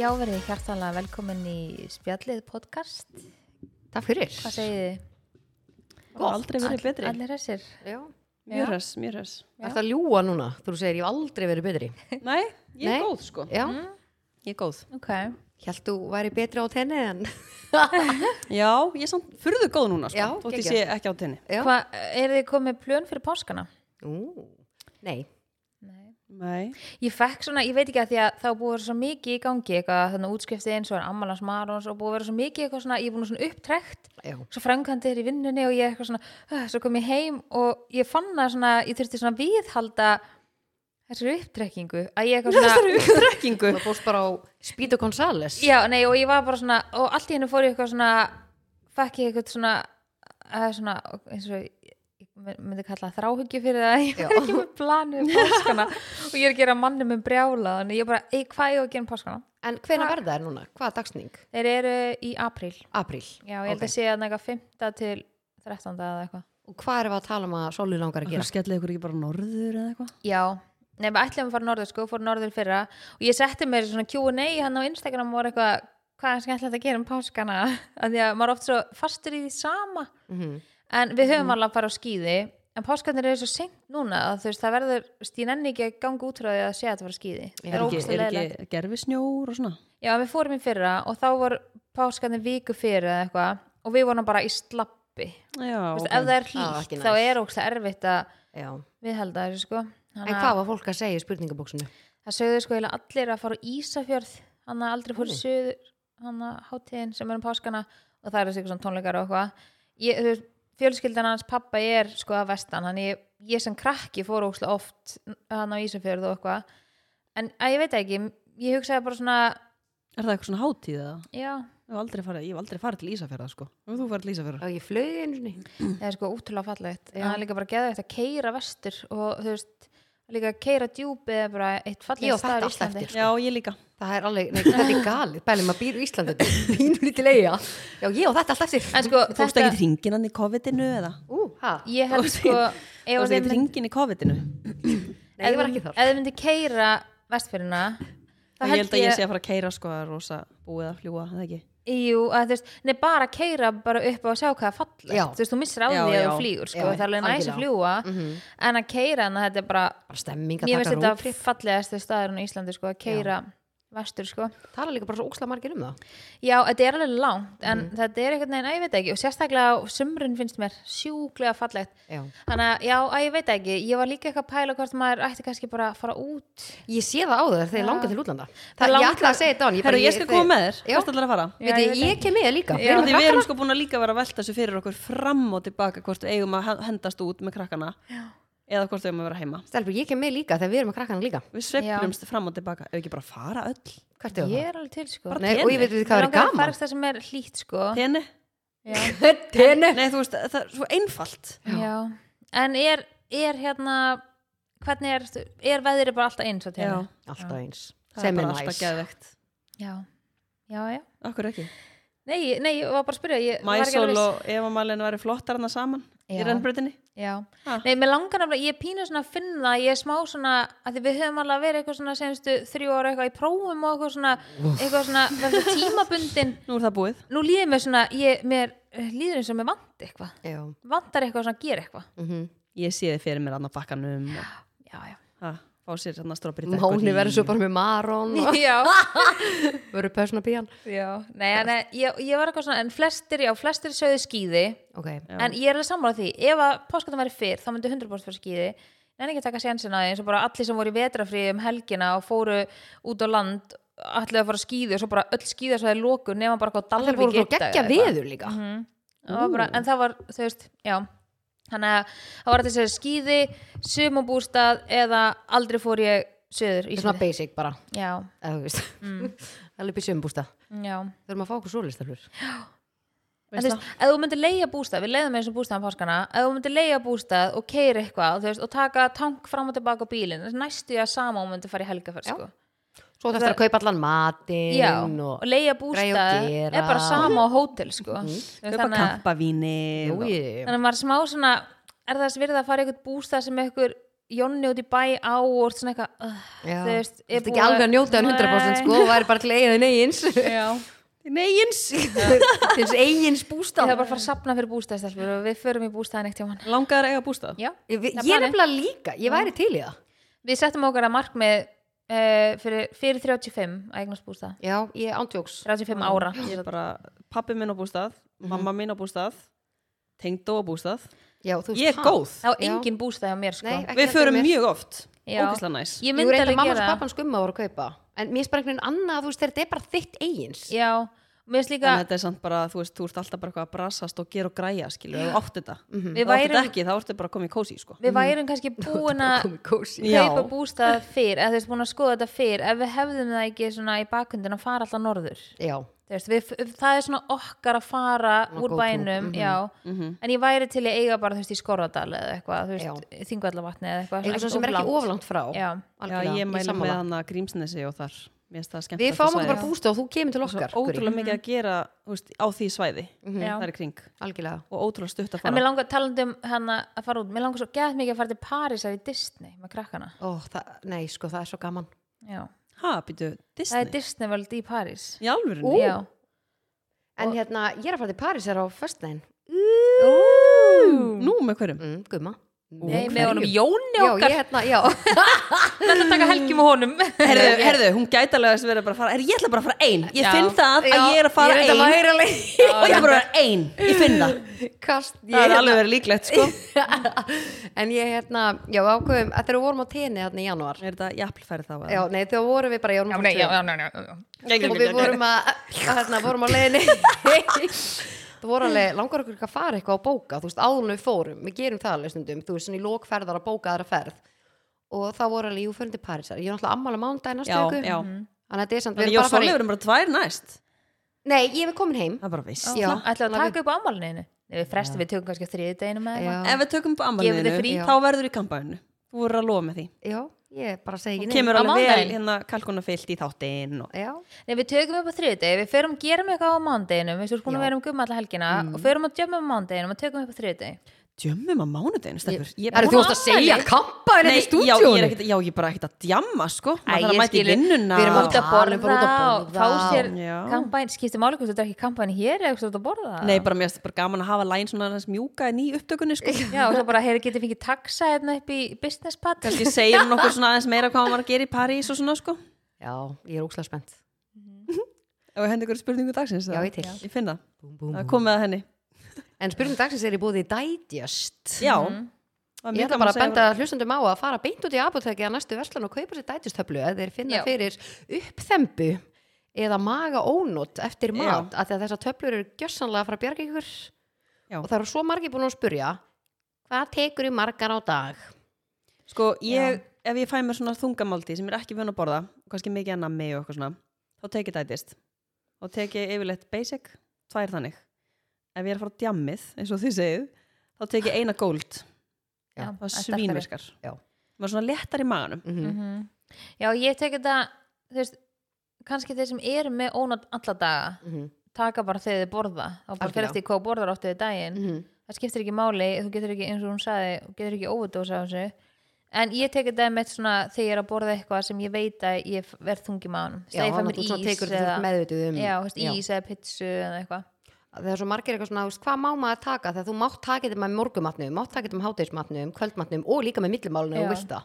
Já, verðið hjartanlega velkomin í spjallið podcast. Takk fyrir. Hvað segið þið? Gott. Aldrei verið All- betri. Allir þessir. Já. Mjög hress, mjög hress. Það er að ljúa núna. Þú segir, ég hef aldrei verið betri. Nei, ég Nei. er góð sko. Já, Mhm. ég er góð. Ok. Hjælt þú væri betri á tenni en... Já, ég er samt furðu góð núna sko. Já, Þótt ég sé geggjað. ekki á tenni. Já. Hvað, er þið komið plön fyrir páskana? Ú, nei. Nei. Nei. Ég fekk svona, ég veit ekki að því að það var búið að vera svo mikið í gangi eitthvað, þannig útskriftið eins og er ammalans marons og búið að vera svo mikið eitthvað svona, ég er búin að svona upptrekt, Já. svo framkvæmdir í vinnunni og ég er eitthvað svona, uh, svo kom ég heim og ég fann að svona, ég þurfti svona viðhalda þessari upptrekkingu, að ég eitthvað svona, Það eru rekkingu. Það fórst bara á Spítu Gonzales. Já, nei, og ég var bara svona og allt í hennu fór ég eitthvað svona fekk ég eitthvað svona, að, svona eins og ég mun- myndi kalla þráhyggju fyrir það, ég Já. var ekki með planu um páskana og ég er að gera mannum um brjála, þannig ég bara, ei, hvað ég á að gera um páskana? En hvenær verða er núna? Hvaða dagsning? Þeir eru í apríl, Apríl. já, ég held Ok. að sé að nega 5. til 13. eða eitthvað Og hvað erum við að tala um að Sólu langar að Það gera? skellið ykkur ekki bara norður eða eitthvað. Já, nei, við ætlum að fara norður sko, fór norður í fyrra og ég setti mér svona Q&A hann hérna á Instagram og var eitthvað hvað er skemmtilegt að gera um páskana af því að maður er oft svo fastur í því sama Mm en við Mhm. höfum alveg að fara á skýði en páskarnir eru svo seint núna að þú veist, það verður, ég nenni ekki að ganga út frá því að sé að það fara á skýði það Er Er er ekki, ógst að er leiðilegt ekki gerfisnjór og svona? já, við fórum í fyrra og þá voru páskarnir viku fyrir eða eitthvað og við vorum bara í slappi Já, Þú veist, ok. ef það er Ah, hlýtt, ekki þá næs. er ógst að erfitt að Já. viðhalda þessu sko En Þannig að- hvað var fólk að segja í spurningabóksinu? það sögðu sko eiginlega allir að fara á Ísafjörð hann að aldrei fór í söður hann að hátíðin sem er um páskana og það er þessi eitthvað svona tónleikar og eitthvað Ég- þú veist, fjölskyldan hans pappa er sko að vestan, hann ég, ég sem krakki fór óslega oft hann á Ísafjörð og eitthvað en að, ég veit það ekki, ég hugsaði bara svona Er það eitthvað svona hátíð eða? já, Ég hef aldrei farið, ég hef aldrei farið til Ísafjörða sko. Hefur þú farið til Ísafjörða? Og ég flög einu sinni. það er sko útrúlega fallegt en það er líka bara geðvægt að keira vestur og þú veist, líka að keira djúpi eða bara eitt Ég fallegt á þetta staður í allt Íslandi eftir. Já, ég líka. Það er alveg, nei, þetta er galið. Bælum að býr í Íslandi, þetta er pínu lítið leiða. Já, ég á þetta allt eftir. en sko, Fórstu þetta, ekki hringin hann í COVID-inu eða? Ú, hæ? ég held Fórstu- sko ef að Fórstu þeim ekki myndi- hringin í COVID-inu? Nei, ég var ekki þar. Ef þið myndi keira vestfyrirna Ég held að ég sé að fara að keira sko að rosa búið að fljúa, það ekki? Jú, að þú veist, nei bara keira bara upp og sjá hvað er fallegt Já. Þú veist, þú missir á Já, því að já. þú flýgur sko, Já, Það er alveg næs algjörlega. að fljúa En að keira hana, þetta er bara Bara stemming að Mér finnst taka þetta rúf. fallegasti staðurinn í Íslandi sko, að keira vestur sko. Tala líka bara svo ókslega margir um það. Já, þetta er alveg langt En Mhm. þetta er einhvern veginn, að ég veit ekki Og sérstaklega á sumrun finnst mér sjúklega fallegt Já. Þannig að, já, að ég veit ekki Ég var líka eitthvað að pæla hvort maður ætti kannski bara að fara út Ég sé það á þér þegar ég langar til útlanda. Það, langar- ég ætla að segja þetta á hann. Herru, ég skal koma með þér, Já. hvert allar að fara? Já, Veit ég ég, veit ég kem með þér líka. Já. Já. Því við erum sko búin að líka vera að velta þessu fyrir okkur fram og tilbaka hvort við eigum að he- hendast út með krakkana Já. eða hvort við eigum að vera heima. Stelbur, ég kem með líka þegar við erum að krakka hann líka. Við sveiflumst fram og tilbaka, ef ekki bara fara öll. Hvert er Ég það? er alveg til sko Nei, og ég veit við hvað er Mig langar að gaman. fara það sem er hlýtt sko Tenni? já. Tenni. Nei, þú veist, það er svo einfalt. já, en er, er hérna hvernig er, er veðrið bara alltaf eins á Já, tenni? Alltaf eins. það Sem er er bara alltaf næs. geðvegt. Já. já, já Akkur ekki. nei, ég- nei, ég var bara að spyrja ég var ekki Mæsól alveg viss. og Eva Malin væri flottar hana saman Já. í rennbrutinni. já, Ha. nei, mér langar nefnilega, ég pínu svona að finna ég er smá svona, að því við höfum alveg verið eitthvað svona senstu þrjú ára eitthvað í prófum og eitthvað svona, eitthvað svona, svona tímabundin, Nú er það búið. nú líður mér svona ég, mér eh, líður eins og mér vant eitthvað Já. vantar eitthvað svona að gera eitthvað mhm. Ég sé þið fyrir mér hann á bakkanum og já, já ha, fá sér hann að strópir í Máni verður svo bara með marón og Já, verður persóna píjan. já, nei, en eh, ég, ég var eitthvað svona, en flestir, já, flestir sögðu skýði, Ok. en ég er alveg sammála því, ef að páskatum væri fyrr, þá myndi 100% fyrir skýði, en ekki að taka sénsina eins og bara allir sem voru í vetrafrí um helgina og fóru út á land, allir að fara skýði og svo bara öll skýða svo það er lóku nema bara hvað Það dalur voru svo geggja viður líka. Það var bara, en það var, þú veist, já þannig að það var þess að skýði sumabústað eða aldrei fór ég söður í Svona basic bara. já, eða þú veist. Það er lupið sömbústa. já Þurfum að fá okkur svolistaflur. En þú veist, ef þú myndir leigja bústað, við leiðum eins og bústaðan páskana, ef þú myndir leigja bústað og keiri eitthvað, þú veist, og taka tank fram og tilbaka á bílinn, næstu ég að sama og myndir fara í helgaferð, sko. Svo þú eftir að kaupa allan matinn Já, og, og... leigja græja og bústað er gera. Mhm. bara sama á hótel, sko. Mm. Kaupa kampavíni Jú, ég- þannig að maður er smá svona, er þess virða að fara í eitthvað bústað sem eitthvað Jonni út í bæ á og ert svona eitthvað uh, Já, þú veist, Þú er ert ekki búið að- alveg að njóta hann 100% sko, og væri bara til eigin eigins Já. Neiins til þess eigins Ég bústaf þarf bara að fara að sapna fyrir bústæðstelpur og við förum í bústæðin eitt hjá hann Langar að eiga bústað Já, Ég það er ég er planið. nefnilega líka, ég væri til í það Við settum okkar að markmið uh, fyrir, fyrir 35 að eignast bústæð Já, ég ándjóks 35 ára Ég er bara pappi minn á bústað Mhm. Mamma mín á bústað Tengdó á bústað Já, þú veist, Ég er ha? góð sko. Það var Já. engin bústæð hjá mér sko Nei, ekki Við heldur förum mér. mjög oft Já. Ógislega næs Ég Ég myndi myndi að alveg mamma og gera það pappan skumma voru að kaupa En mér er bara einhvern veginn annað að þú veist þetta er bara þitt eigins Já, mér finnst En líka þetta er samt bara, þú veist, þú ert alltaf bara eitthvað að brasast og gera og græja, skilur, ef þú átt þetta Mhm. Við Ef þú átt þetta værum- ekki, þá ertu bara að koma í kósi, sko Mm. Við værum kannski búin að Komið kósi Já. kaupa bústað fyrr eða þú veist búin að skoða þetta fyrr ef við hefðum það ekki svona í bakhundin að fara alltaf norður Já, Þú veist, við, það er svona okkar að fara úr go to, bænum já, en ég væri til að eiga bara þú veist í Skorradal eða eitthvað, þú Mhm. Já. veist, þingvallavatni eða eitthvað, eitthvað sem er of ekki langt. oflangt frá Já. Já, Algjörlega, ég mæli sammála. með hana Grímsnesi og þar Mér finnst það skemmt Við fáum okkur bara bústaf og þú kemur til Svo okkar Guri. ótrúlega mikið að gera, þú veist, á því svæði Mhm. Já. þar í kring Algjörlega og ótrúlega stutt að en mér fara langar talandi um hana að fara út mér langar svo gett mikið að fara til Parísar í Disney með krakkana Ó, það, nei, sko, það er svo gaman já. Ha, það býtu, er Disney? Disney völd í París Í alvörinu? Ú. já. En hérna, ég er að fara til París á föstudaginn Nú með hverjum? mm, Gumma Nei, Ú, með honum Jóni Já, okkar ég hérna, já ég ætla að taka helgi með honum Herðu, herðu, hún gæti alveg að vera bara að fara, er ég ætla bara að fara ein, ég Já. finn það að ég er að fara Ég er ein að læra og ég er bara að vera ein, ég finn það. leik Kast, ég hérna. Það er alveg verið líklegt, sko. En ég hérna, já, við ákveðum að Þegar við vorum á tenni hérna í janúar Er þetta jafnfærið þá? eða? Já, nei, þegar vorum við bara, já, já, nei, vorum já, við já, já, já, já. og við vorum að, að hérna, vorum á leiðinni það voru alveg, langar okkur ekki að fara eitthvað að bóka, þú veist, áðurinn við fórum við gerum það alveg stundum, þú veist, svona í lokferðar að bóka aðra ferð og það voru alveg, jú, förum til Parísar, ég er náttúrulega ammála mándaginn næstu Já, viku, já. þannig að þetta er samt, við erum Þannig bara ég og að Sólí fara í verðum bara tvær næst. nei, ég er komin heim, Það er bara veist. Já. ætla að taka upp á ammálinu við frestum við tökum kannski þriði deginu með já, Ef við tökum upp Gefið þið frí. ammaninu, þá verður í kampaðinu. Þú verður að lofa með því. já, ég bara segi Þú ekki Á kemur alveg vel mánudaginn? hérna kalkuna fyllt í þáttinn og... já, Nei, við tökum upp á þriðdegi, við förum gerum eitthvað á mándeginum, við erum búin að vera um gumma alla helgina og förum að djömmum á mándeginum og tökum upp á þriðdegi. Djömmum á mánudeginu, stefnur. það eru þú ást að segja kampaðin Nei, í já, ég er stúdíónu ekkit, já, ég er bara ekkert að djamma, sko. Æ, ég Maður þarf að mæta í skil- vinnuna. við erum Út að- að Já, borða, við förum út að og borða. fá sér Já. kampæn, skiptir máli hvort þú drekki kampæn hér eða hvort þú ert að borða það. Nei, bara mér finnst bara gaman að hafa læn svona aðeins mjúka en í upptökunni, sko. Já, og svo bara, heyri, getið fengið taxa hérna upp í business pad. Kanski segir hún okkur svona aðeins meira hvað hann var að gera í París og svona, sko. já, ég er ókslega spennt Ef við hendur ykkur spurningu dagsins. Já, eða? ég til. Ég finn það. Búm, búm, Það er búm. komið að henni. en spurning dagsins er í búði Digest Já. Það var Ég mjög ætla gaman bara að að segja- benda hlustundum á að fara beint út í apotekki að næstu verslan og kaupa sér dætistöflu eða þeir finna Já. fyrir uppþembu eða maga ónót eftir Já. mat af því að þessar töflur eru gjössanlega að fara að bjarga ykkur Já. og það eru svo margir búin að spurja hvað tekur í margar á dag? Sko, ég, ef ég fæ mér svona þungamáldi sem ég er ekki vön að borða, og kannski mikið enna mig og eitthvað svona, þá tek ég dætist. Og tek ég yfirleitt basic, tvær þannig. Ef ég er að fara á djammið, eins og þið segið, þá tek ég eina gold. Já, Já, Það það er er svínverskar. Já. Maður er svona léttar í maganum. Mm Mm Já, ég tek þetta, þú veist, kannski þeir sem eru með ónátt alla daga, mhm, taka bara þegar þið borða og bara fyrir Algjörlega. Mm. eftir hvað þú borðar áttu þið daginn. mhm. það skiptir ekki máli, þú getur ekki eins og hún saði, þú getur ekki óvudósa á þessu en ég tek þetta með svona þegar ég er að borða eitthvað sem ég veit að ég f- verð þungi mánum, Já, þegar ég fæ mér þannig að þú svona ís tekur þetta eða, meðvituð um já, þú veist, ís eða pitsu eða eitthvað Það er svo margir eitthvað svona, þú veist, hvað má maður taka þegar þú mátt taka þetta með morgumatnum, mátt taka þetta með hátegismatnum, kvöldmatnum og líka með millimálunum og Já. vilt það.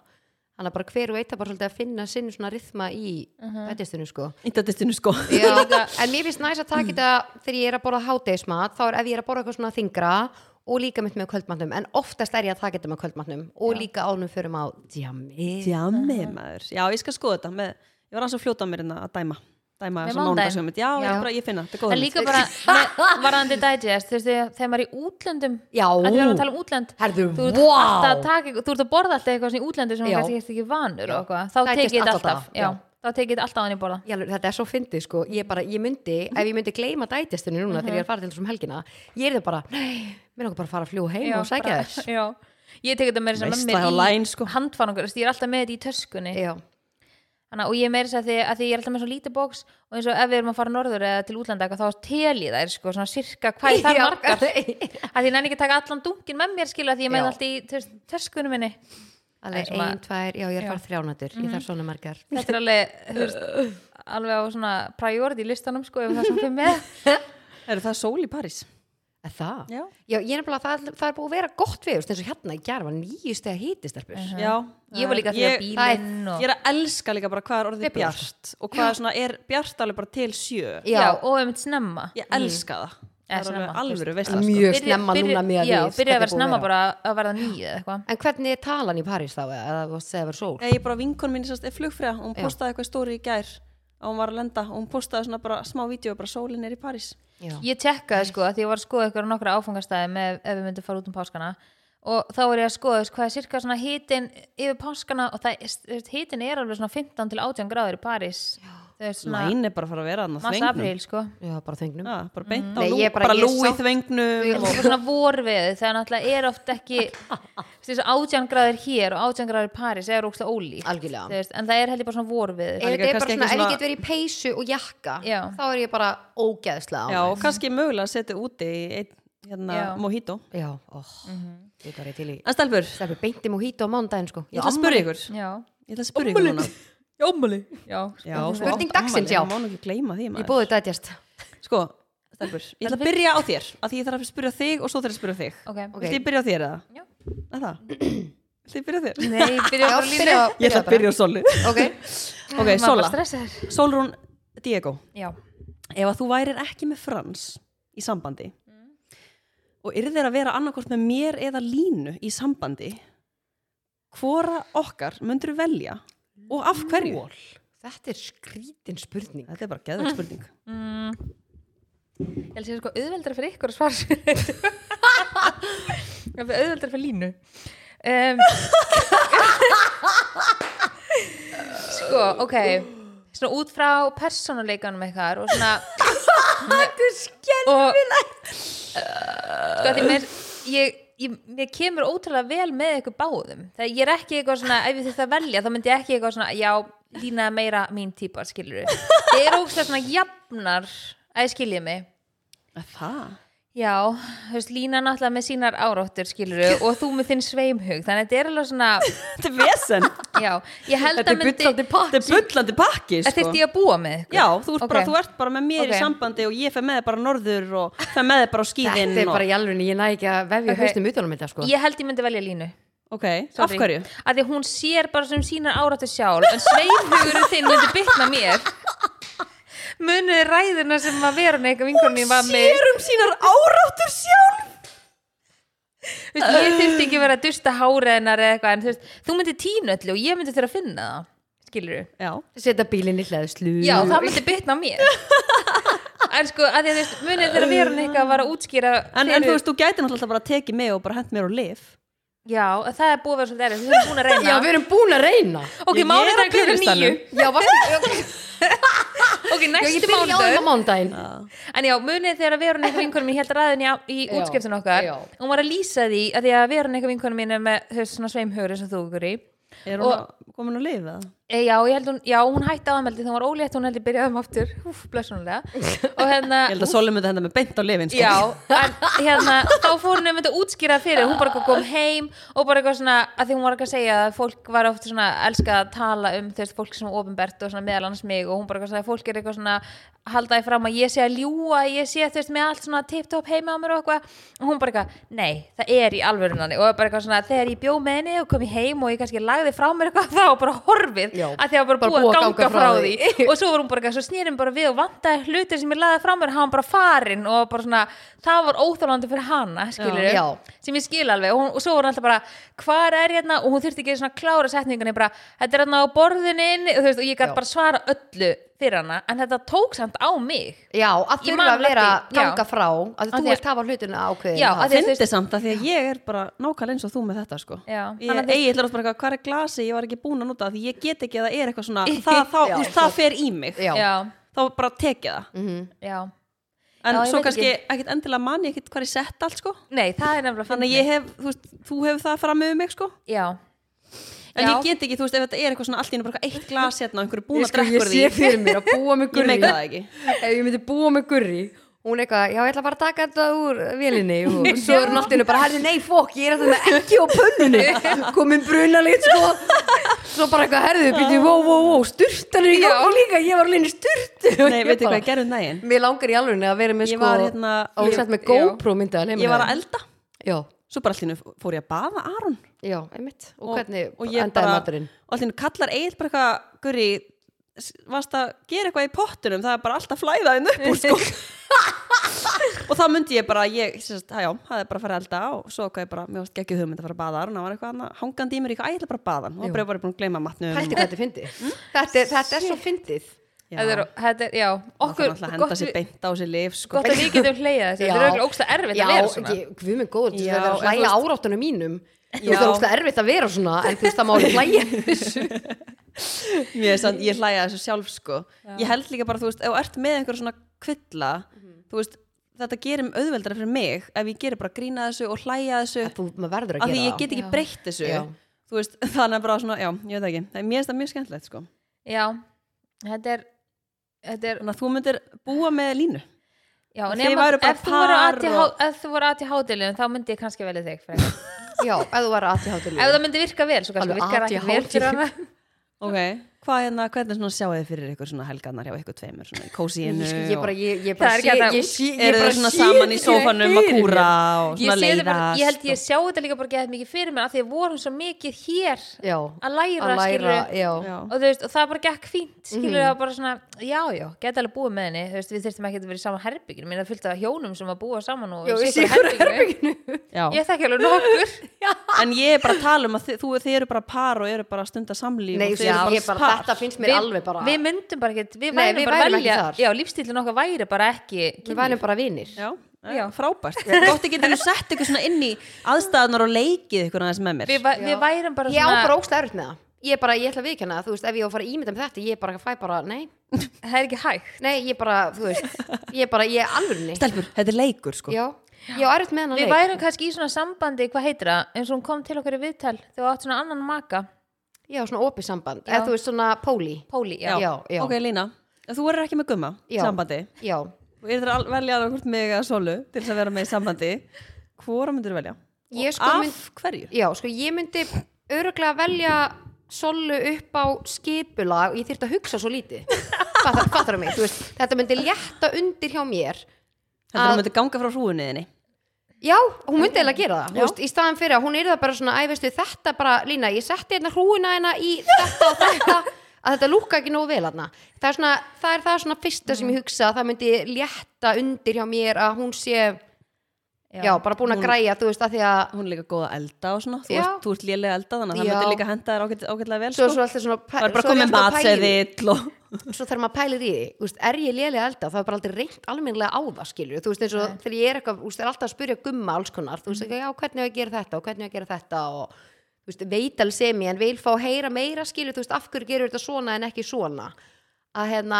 Þannig að bara hver og eitt er bara svolítið að finna sinn svona rithma í uh Mhm. sko. Índadistinu sko. Já, en mér finnst næst að taka þetta þegar ég er að borða hádegismat þá er ef ég er að borða eitthvað svona þingra og líka mitt með kvöldmatnum, en oftast er ég að taka þetta með kvöldmatnum og líka ánum förum á djami, Djammið maður. Já, ég skal skoða þetta með, ég var aðeins að fljóta á mér en að dæma. Dæma Með svona mánudaginn. mánudagshugmynd. Já, Já. Ég, bara, ég finna, þetta er góð en hugmynd. líka bara með- varðandi digest, þú veist, þegar þegar maður er í útlöndum Já. að því við erum að tala um útlönd Herðu, þú ert, vá. alltaf að taka, eitthvað- þú ert að borða alltaf eitthvað svona í útlöndu sem þú Já. kannski ert ekki vanur og eitthvað, þá Digest tekið þetta alla daga, alltaf já, já. þá tekið þetta alltaf á hann í borða Já, þetta er svo fyndið sko, ég bara, ég myndi ef ég myndi gleyma dætjastunni núna Mhm. þegar ég er að fara til þessum helgina, ég er það bara nei, mér langar bara að fara að fljúa heim og sækja bara- þess já. ég tek þetta meira sem með Veistla mér hjá í Line, sko. handfangur ég er alltaf með þetta í töskunni Já, Þannig, að- og ég meira þess að því, að því ég er alltaf með svo lítið bóks og eins og ef við erum að fara norður eða til útlanda eitthvað, þá tel ég þær sko, svona sirka hvað ég þarf Já, margar að því ég nenni ekki að taka allan dunkin með mér skilja því ég með Já. allt í tös- töskunum minni Alveg Sem að- ein, tvær, já ég Já. er Mhm. farið þrjánættur Ég þarf svona margar þetta er alveg þú veist, alveg á svona priority listanum sko ef það sem fyrir með Er það sól í París? Er það? Já. Já, ég er nefnilega, það, það er búið að vera gott veður eins og hérna í gær var nýjust eða hítist Mhm. Já. ég var líka Ég- fyrir bílinn Ég og, er að elska líka bara hvað er orðið Febrúar. bjart og hvað er svona, er bjart alveg bara til sjö. já, Já, og um eitt snemma Ég elska Eða það. Það er snemma, alveg alvöru sko. veist mjög snemma núna með já, byrja að vera snemma bara að verða nýju eða eitthvað En hvernig er talan í París þá? Eða eða þú varst að segja að vera sól? Ég er bara vinkon mín sérst, er flugfræða og hún postaði eitthvað stóri í gær og hún var að lenda og hún postaði svona bara smá vídeo bara sólin er í París. Já. ég tekkaði sko að því ég var að skoða ykkur nokkra áfangastæði með ef við myndum fara út um páskana og þá var ég að skoða þú veist, hvað er sirka svona hitin yfir páskana og það, þú veist, hitin er alveg svona 15 til 18 gráður í Paris það er svona Næn er bara að fara að vera þarna á massa þvengnum. apríl sko Já, bara þengnum Já, bara beint á Nei, lú, ég er bara- bara ég lú í sá- Þetta þvengnum er bara svona vorveðu þegar náttúrulega er oft ekki þessu átjangræðir hér og átjangræðir í París er ógstlega ólíkt Algjörlega. þú veist, en það er heldur bara svona vorveðu Ef líka þetta er bara svona, kannski ekki ef ég svona- get verið í peysu og jakka Já. þá er ég bara ógeðslega Já, á og kannski mögulega að setja úti í einn hérna, Já. mojito. Já, ó, Mhm. ég bara er til í En stelpur, Stelpur beinti mojito á mándaginn sko ég ætla að spyrja ykkur. já, Ég ætla að spyrja ykkur núna. já, ámali já, Já, sko. svo Spurning átt afmæli, dagsins, já. Ég má nú ekki gleyma því Ég maður. búið þetta eitthjast Sko, stelpur, ég ætla að byrja á þér. Af því ég þarf að spyrja þig og svo þarf að spyrja þig. ok, Ok. Viltu ég byrja á þér eða? Já. Er það? Viltu ég byrja á þér? Nei, byrja á línu Ég ætla að byrja á Soli. Ok, Ok, Maður bara Sola. stressaður. Solrún Diego, Já, ef að þú værir ekki með Frans í sambandi og eru þeir að vera annarkort með mér eða Línu í sambandi, hvora okkar myndur velja og af hverju? Lol. Þetta er skrítin spurning Þetta er bara geðvægt spurning. mm. Ég held að sé sko auðveldar fyrir ykkur að svara sér þetta er auðveldar fyrir línu um. Sko, ok Svona út frá persónuleikanum ykkar og svona Þetta er skelfilegt Sko, af því mér ég, ég, mér kemur ótrúlega vel með ykkur báðum þegar ég er ekki eitthvað svona ef ég þurfti að velja þá myndi ég ekki eitthvað svona já, lína er meira mín típa, skilur við þið eru ógstlega svona jafnar að skilja mig Er Það? já, þú veist, lína náttúrulega með sínar áróttur, skilur við og þú með þinn sveimhug, þannig að þetta er alveg svona Þetta er vesen. já, ég held að Þetta er myndi bullandi pakk Þetta er bullandi pakki, að sko. þyrfti ég að búa með ykkur Já, þú ert, bara, Ok. þú ert bara með mér Ok. í sambandi og ég fer með þig bara norður og fer með þig bara á skýðin. Þetta er bara í alveg, ég næ ekki að vefja Ok. okay. haustum utanum þetta sko ég held ég myndi velja línu Og... Ok, Sorry. af hverju? Af því að hún sér bara sem sínar áratu sjálf en sveimhugurinn þinn myndi bytna mér munið ræðina sem að vera neikur vinkunni var með um sínar áráttur sjálf. Þú veist, ég þurfti ekki að vera að dusta háreðinar eða eitthvað en þú, veist, þú myndi tínu öllu og ég myndi þurfa að finna það skilur þú? Já, Seta bílinni hlæðslu Já, það myndi bytna mér en sko, af því að þú veist, munið þurfa að vera neikur að vara að útskýra en, en þú veist, þú gæti náttúrulega bara að teki mig og bara hent mér á lif. já, það er búið að vera svolítið erið, þú erum búin að reyna Já, við erum búin að reyna ok, Ég- ég er á mánudag klukkan níu biðlistanum. Já, varstu, ok, já, ég næsti byrja á mánudag það mándaginn En já, munið þegar að Veronika vinkunum mín held ræðin í, í Já, útskiptun okkar já. hún var að lýsa því að því að Veronika vinkunum mín er með höfst svona sveimhöru sem þú ykkur í Er hún og... komin á lif eða? e, já, ég held hún, já, hún hætti aðmeldi þegar hún var ólétt hún heldur byrjaði um aftur, húf, blessunulega og hérna, Ég held að Soli myndi henda mig beint á lifin, sko. já en, hérna, þá fór hún einmitt að útskýra það fyrir hún bara eitthvað kom heim og bara eitthvað svona að því hún var eitthvað að segja að fólk var oft svona elskað að tala um þess fólk sem er ofinbert og svona meðal annars mig og hún bara eitthvað svona að fólk er eitthvað svona haldaði fram að ég sé að ljúa ég sé þú veist með allt svona tipptopp heima á mér og eitthvað og hún bara eitthvað, nei, það er í alvörunani og bara eitthvað svona þegar ég bjó með henni og kom ég heim og ég kannski lagði frá mér eitthvað þá var bara horfið Já. að því að bara Bara búið að ganga frá því og svo var hún bara eitthvað, svo snýrum bara við og vantaði hlutir sem ég laði fram mér, hann bara farinn og bara svona, það var óþálandi fyrir hana skilur Já. sem ég skil alveg og, hún, og svo var hann alltaf bara, hvar er hérna og hún þurfti ekki svona að klára setningunni bara, þetta er hérna á borðinu inni, og, þú veist, og ég Já. gæti bara svara öllu fyrir hana en þetta tók samt á mig Já, að Ég þurfa man að vera eftir- já. ganga frá að Af þú því að- vilt hafa hlutuna ákveðin Já, hátt. af því að þú Fyndi samt að því að ég er bara nákvæmlega eins og þú með þetta sko Já. Þannig Ég að þú- eiginlega bara eitthvað, hvað er glasi, ég var ekki búin að nota það, því ég get ekki að það er eitthvað svona það, þá, Já, þú veist, svo- það fer í mig Já. já, þá bara tekið það Mhm. já. en Já, ég svo veit kannski ekkit endilega mann ég ekkit hvað er sett allt sko nei, það er nefnilega fyndið. þannig að ég hef, þú veist, þú hefur það fram með mig sko já, en Já. ég get ekki, þú veist, ef þetta er eitthvað svona allt í einu bara eitthvað eitt glas hérna, og einhverju búin Ég að sko, ég drekkur því sé fyrir mér að búa með ég gurri meika það ekki Ef ég myndi búa með gurri hún eitthvað, já ég ætla bara að taka þetta úr vélinni og svo er hún allt í hennu bara, herri nei fokk, ég er þetta með ekki á pönnunni komin brunalit sko svo bara eitthvað, herðu, býttu, vó, vó, vó sturtan er í gangi líka, ég var alveg inn í sturtu Nei, veitu hvað ég gerði um daginn? Mér langar í alveg að vera með Ég sko var hérna og ég, sett með GoPro myndið að ég var að elda Já, Svo bara allt í hennu fór ég að baða Aron já, einmitt Og, hvernig og ég endaði bara- maturinn? og allt í hennu kallar Egil bara eitthvað Guri, s- varst að gera eitthvað í pottunum það er bara alltaf flæða henn upp úr sko og þá myndi ég bara ég, sérst, já, hafði bara að fara að elda og svo hvað ég bara, mér varst ekki hugmynd að fara að baða Aron og var eitthvað annað, hangandi í mér eitthvað, "Æ, ég ætla bara að baða hann og Jú. bara ég var búin að gleyma matnum Pældi hvað þetta er fyndið þetta, er- þetta er svo fyndið Þetta er, þetta er, já, okkur okkur að henda gott, sér við- beint á sér lif sko. gott að við getum hleyja þessu Þetta er Já. auðvitað ógsta erfitt Já, að vera svona ég- guð minn góður, Já, þetta er að en þú hlæja veist- áráttunum mínum Þú Já. veist, það er óslega erfitt að vera svona en þú veist, það má alveg hlæja þessu. Mér er samt, ég hlæja þessu sjálf sko Ég held líka bara, þú veist, ef þú ert með einhver svona kvilla, Mhm. þú veist þetta gerir auðveldara fyrir mig ef ég gerir bara grína þessu og hlæja þessu Þú, maður verður að af því gera ég get ekki Já. breytt þessu Já. þú veist, þannig að bara svona, já, ég veit ekki það er mjög, mjög skemmtilegt sko Já, þetta er Þetta er, þannig að þú myndir búa með línu já, Þið nema, væru bara ef þú voru par ATH og- ef þú voru ATH-dilinu, þá myndi ég kannski velja þig frekar. Já, ef þú var aðtíhátt Ef það myndi virka vel, svo kannski Alveg virkar ekki vel ADHD. fyrir hana ok, hvað hérna, hvernig svona sjáu þið fyrir ykkur svona helgarnar hjá ykkur tveimur svona í kósíinu Ég, ég bara, ég, ég Það bara er ekki hægt að- ég sé, ég eru bara þið svona sé saman í þetta sófanum fyrir að mér. kúra og ég, svona sé þetta bara, ég held leiðast ég sjá þetta líka bara geðað mikið fyrir mér af því að vorum svo mikið hér Já, að læra, að læra, skilurðu. já Mhm. og- Já. og, þú veist, og það bara gekk fínt skilur það bara svona, já, já, geta alveg búið með henni þú veist, við þurftum ekki að vera í saman herbygginu minna fylgta af hjónum sem að búa saman og Já, í ég sé sitthvoru hverju herbygginu Já. ég þekki alveg nokkur en ég er bara að tala um að þið, þú, þið eru bara par og eru bara að stunda samlíf Nei, og þið já, eru bara ég bara, par þetta finnst mér alveg bara við myndum bara ekki, við Nei, værum við bara að værum ekki velja þar. já, lífstílun okkar væri bara ekki Við værum bara vinir já, já, Já. frábært gott ekki þegar þú sett ykkur svona inn í aðstæðanar og leikið ykkur aðeins með mér við, væ- við værum bara Ég á bara svona óslega erfitt með það Ég bara, ég ætla að viðkjanna það, þú veist, ef ég á að fara að ímynda með þetta, ég bara fæ bara, nei, það er ekki hægt nei, ég bara, þú veist, ég bara, ég er alvörni. stelpur, þetta er leikur sko Já, ég á erfitt með hennar Við værum kannski í svona sambandi, hvað heitir það, eins og hún kom til okkar í viðtal þegar átt svona annan maka, Já, svona opið samband, Já. eða þú veist svona póli Póli, já. Já, já, ok Lína, þú verður ekki með gumma Já. sambandi, já. þú eru að velja annað hvort mig eða solu til þess að vera með í sambandi hvora myndir velja? Ég Og sko af mynd- hverju? já, sko ég myndi öruglega velja Sollu upp á skipulag og ég þyrfti að hugsa svo lítið Fattar, fattar mig, þú veist, þetta myndi létta undir hjá mér Þetta Að- að... myndir ganga frá hrúinniðinni Já, hún myndi eiginlega gera það, þú Já. veist, í staðan fyrir að hún er það bara svona, æ, veistu, þetta bara, Lína, ég setti hérna hrúina hérna í þetta og þetta að þetta lúka ekki nógu vel hérna það er svona, það er það svona fyrsta sem ég hugsa það myndi létta undir hjá mér að hún sé, já, bara búin að græja, þú veist, að því að hún er líka góð að elda og svona þú, Já. ert, þú ert lélega elda þannig að það Já. myndir líka henda þér ágæt- ágætlega vel svo, sko. svo alltaf svona pæ- það er bara svo er ég komið alltaf að pæla í því. matseðill og svo þarf maður að pæla í því þú veist, er ég lélega elda, það er bara aldrei reynt almennilega á það skilur, þú veist eins og þegar ég er eitthvað þú veist, það er alltaf að spyrja gumma alls konar þú veist, Mhm. mm. já, hvernig á ég að gera þetta og hvernig á ég að gera þetta og þú veist, veit alveg sem ég en vil fá að heyra meira skilur, þú veist, af hverju gerur þetta svona en ekki svona að hérna,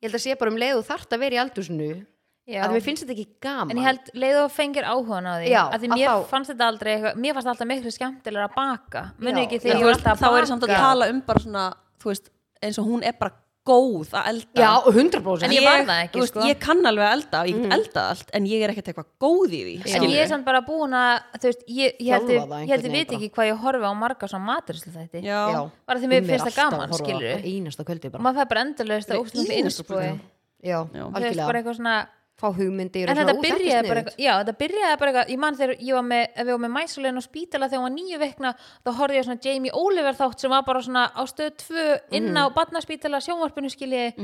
ég held að sé bara um leiðu þart að vera í aldursnu Já. að mér finnst þetta ekki gaman En ég held leiðu að fengir áhugan á því Já, að því að mér þá- fannst þetta aldrei eitthvað, mér fannst alltaf miklu skemmtilega að baka munið Já, ekki já. þegar ég Þú var veist, alltaf þá að baka er samt að tala um bara svona þú veist, eins og hún er bara góð að elda já, En 100% ég var það ekki, þú veist, sko. ég kann alveg að elda, og ég Mm. get eldað allt en ég er ekkert eitthvað góð í því En skilurðu. ég er samt bara búin að þú veist, ég, ég held Þjálfa ég- það ég held einhvern ég veit veginn ekki hvað ég horfi á marga svona maturislu þætti Já. Já. bara því mér Um er finnst það alltaf gaman, að horfa á skilurðu. það einasta kvöldi og bara. maður fær bara endalaust að óstum Í- fyrir innspúi Já, þú veist Já. bara algjörlega. eitthvað svona Fá hugmyndir og En svona, þetta "Ú, er byrjaði bara sniðugt." eitthvað, já, þetta byrjaði bara eitthvað, ég man þegar ég var með, ef ég var með mæsulegin og spítala þegar hún var nýju vekna, þá horfði ég á svona Jamie Oliver þátt sem var bara svona á stöð tvö inn á Mhm. barnaspítala sjónvarpinu skilji,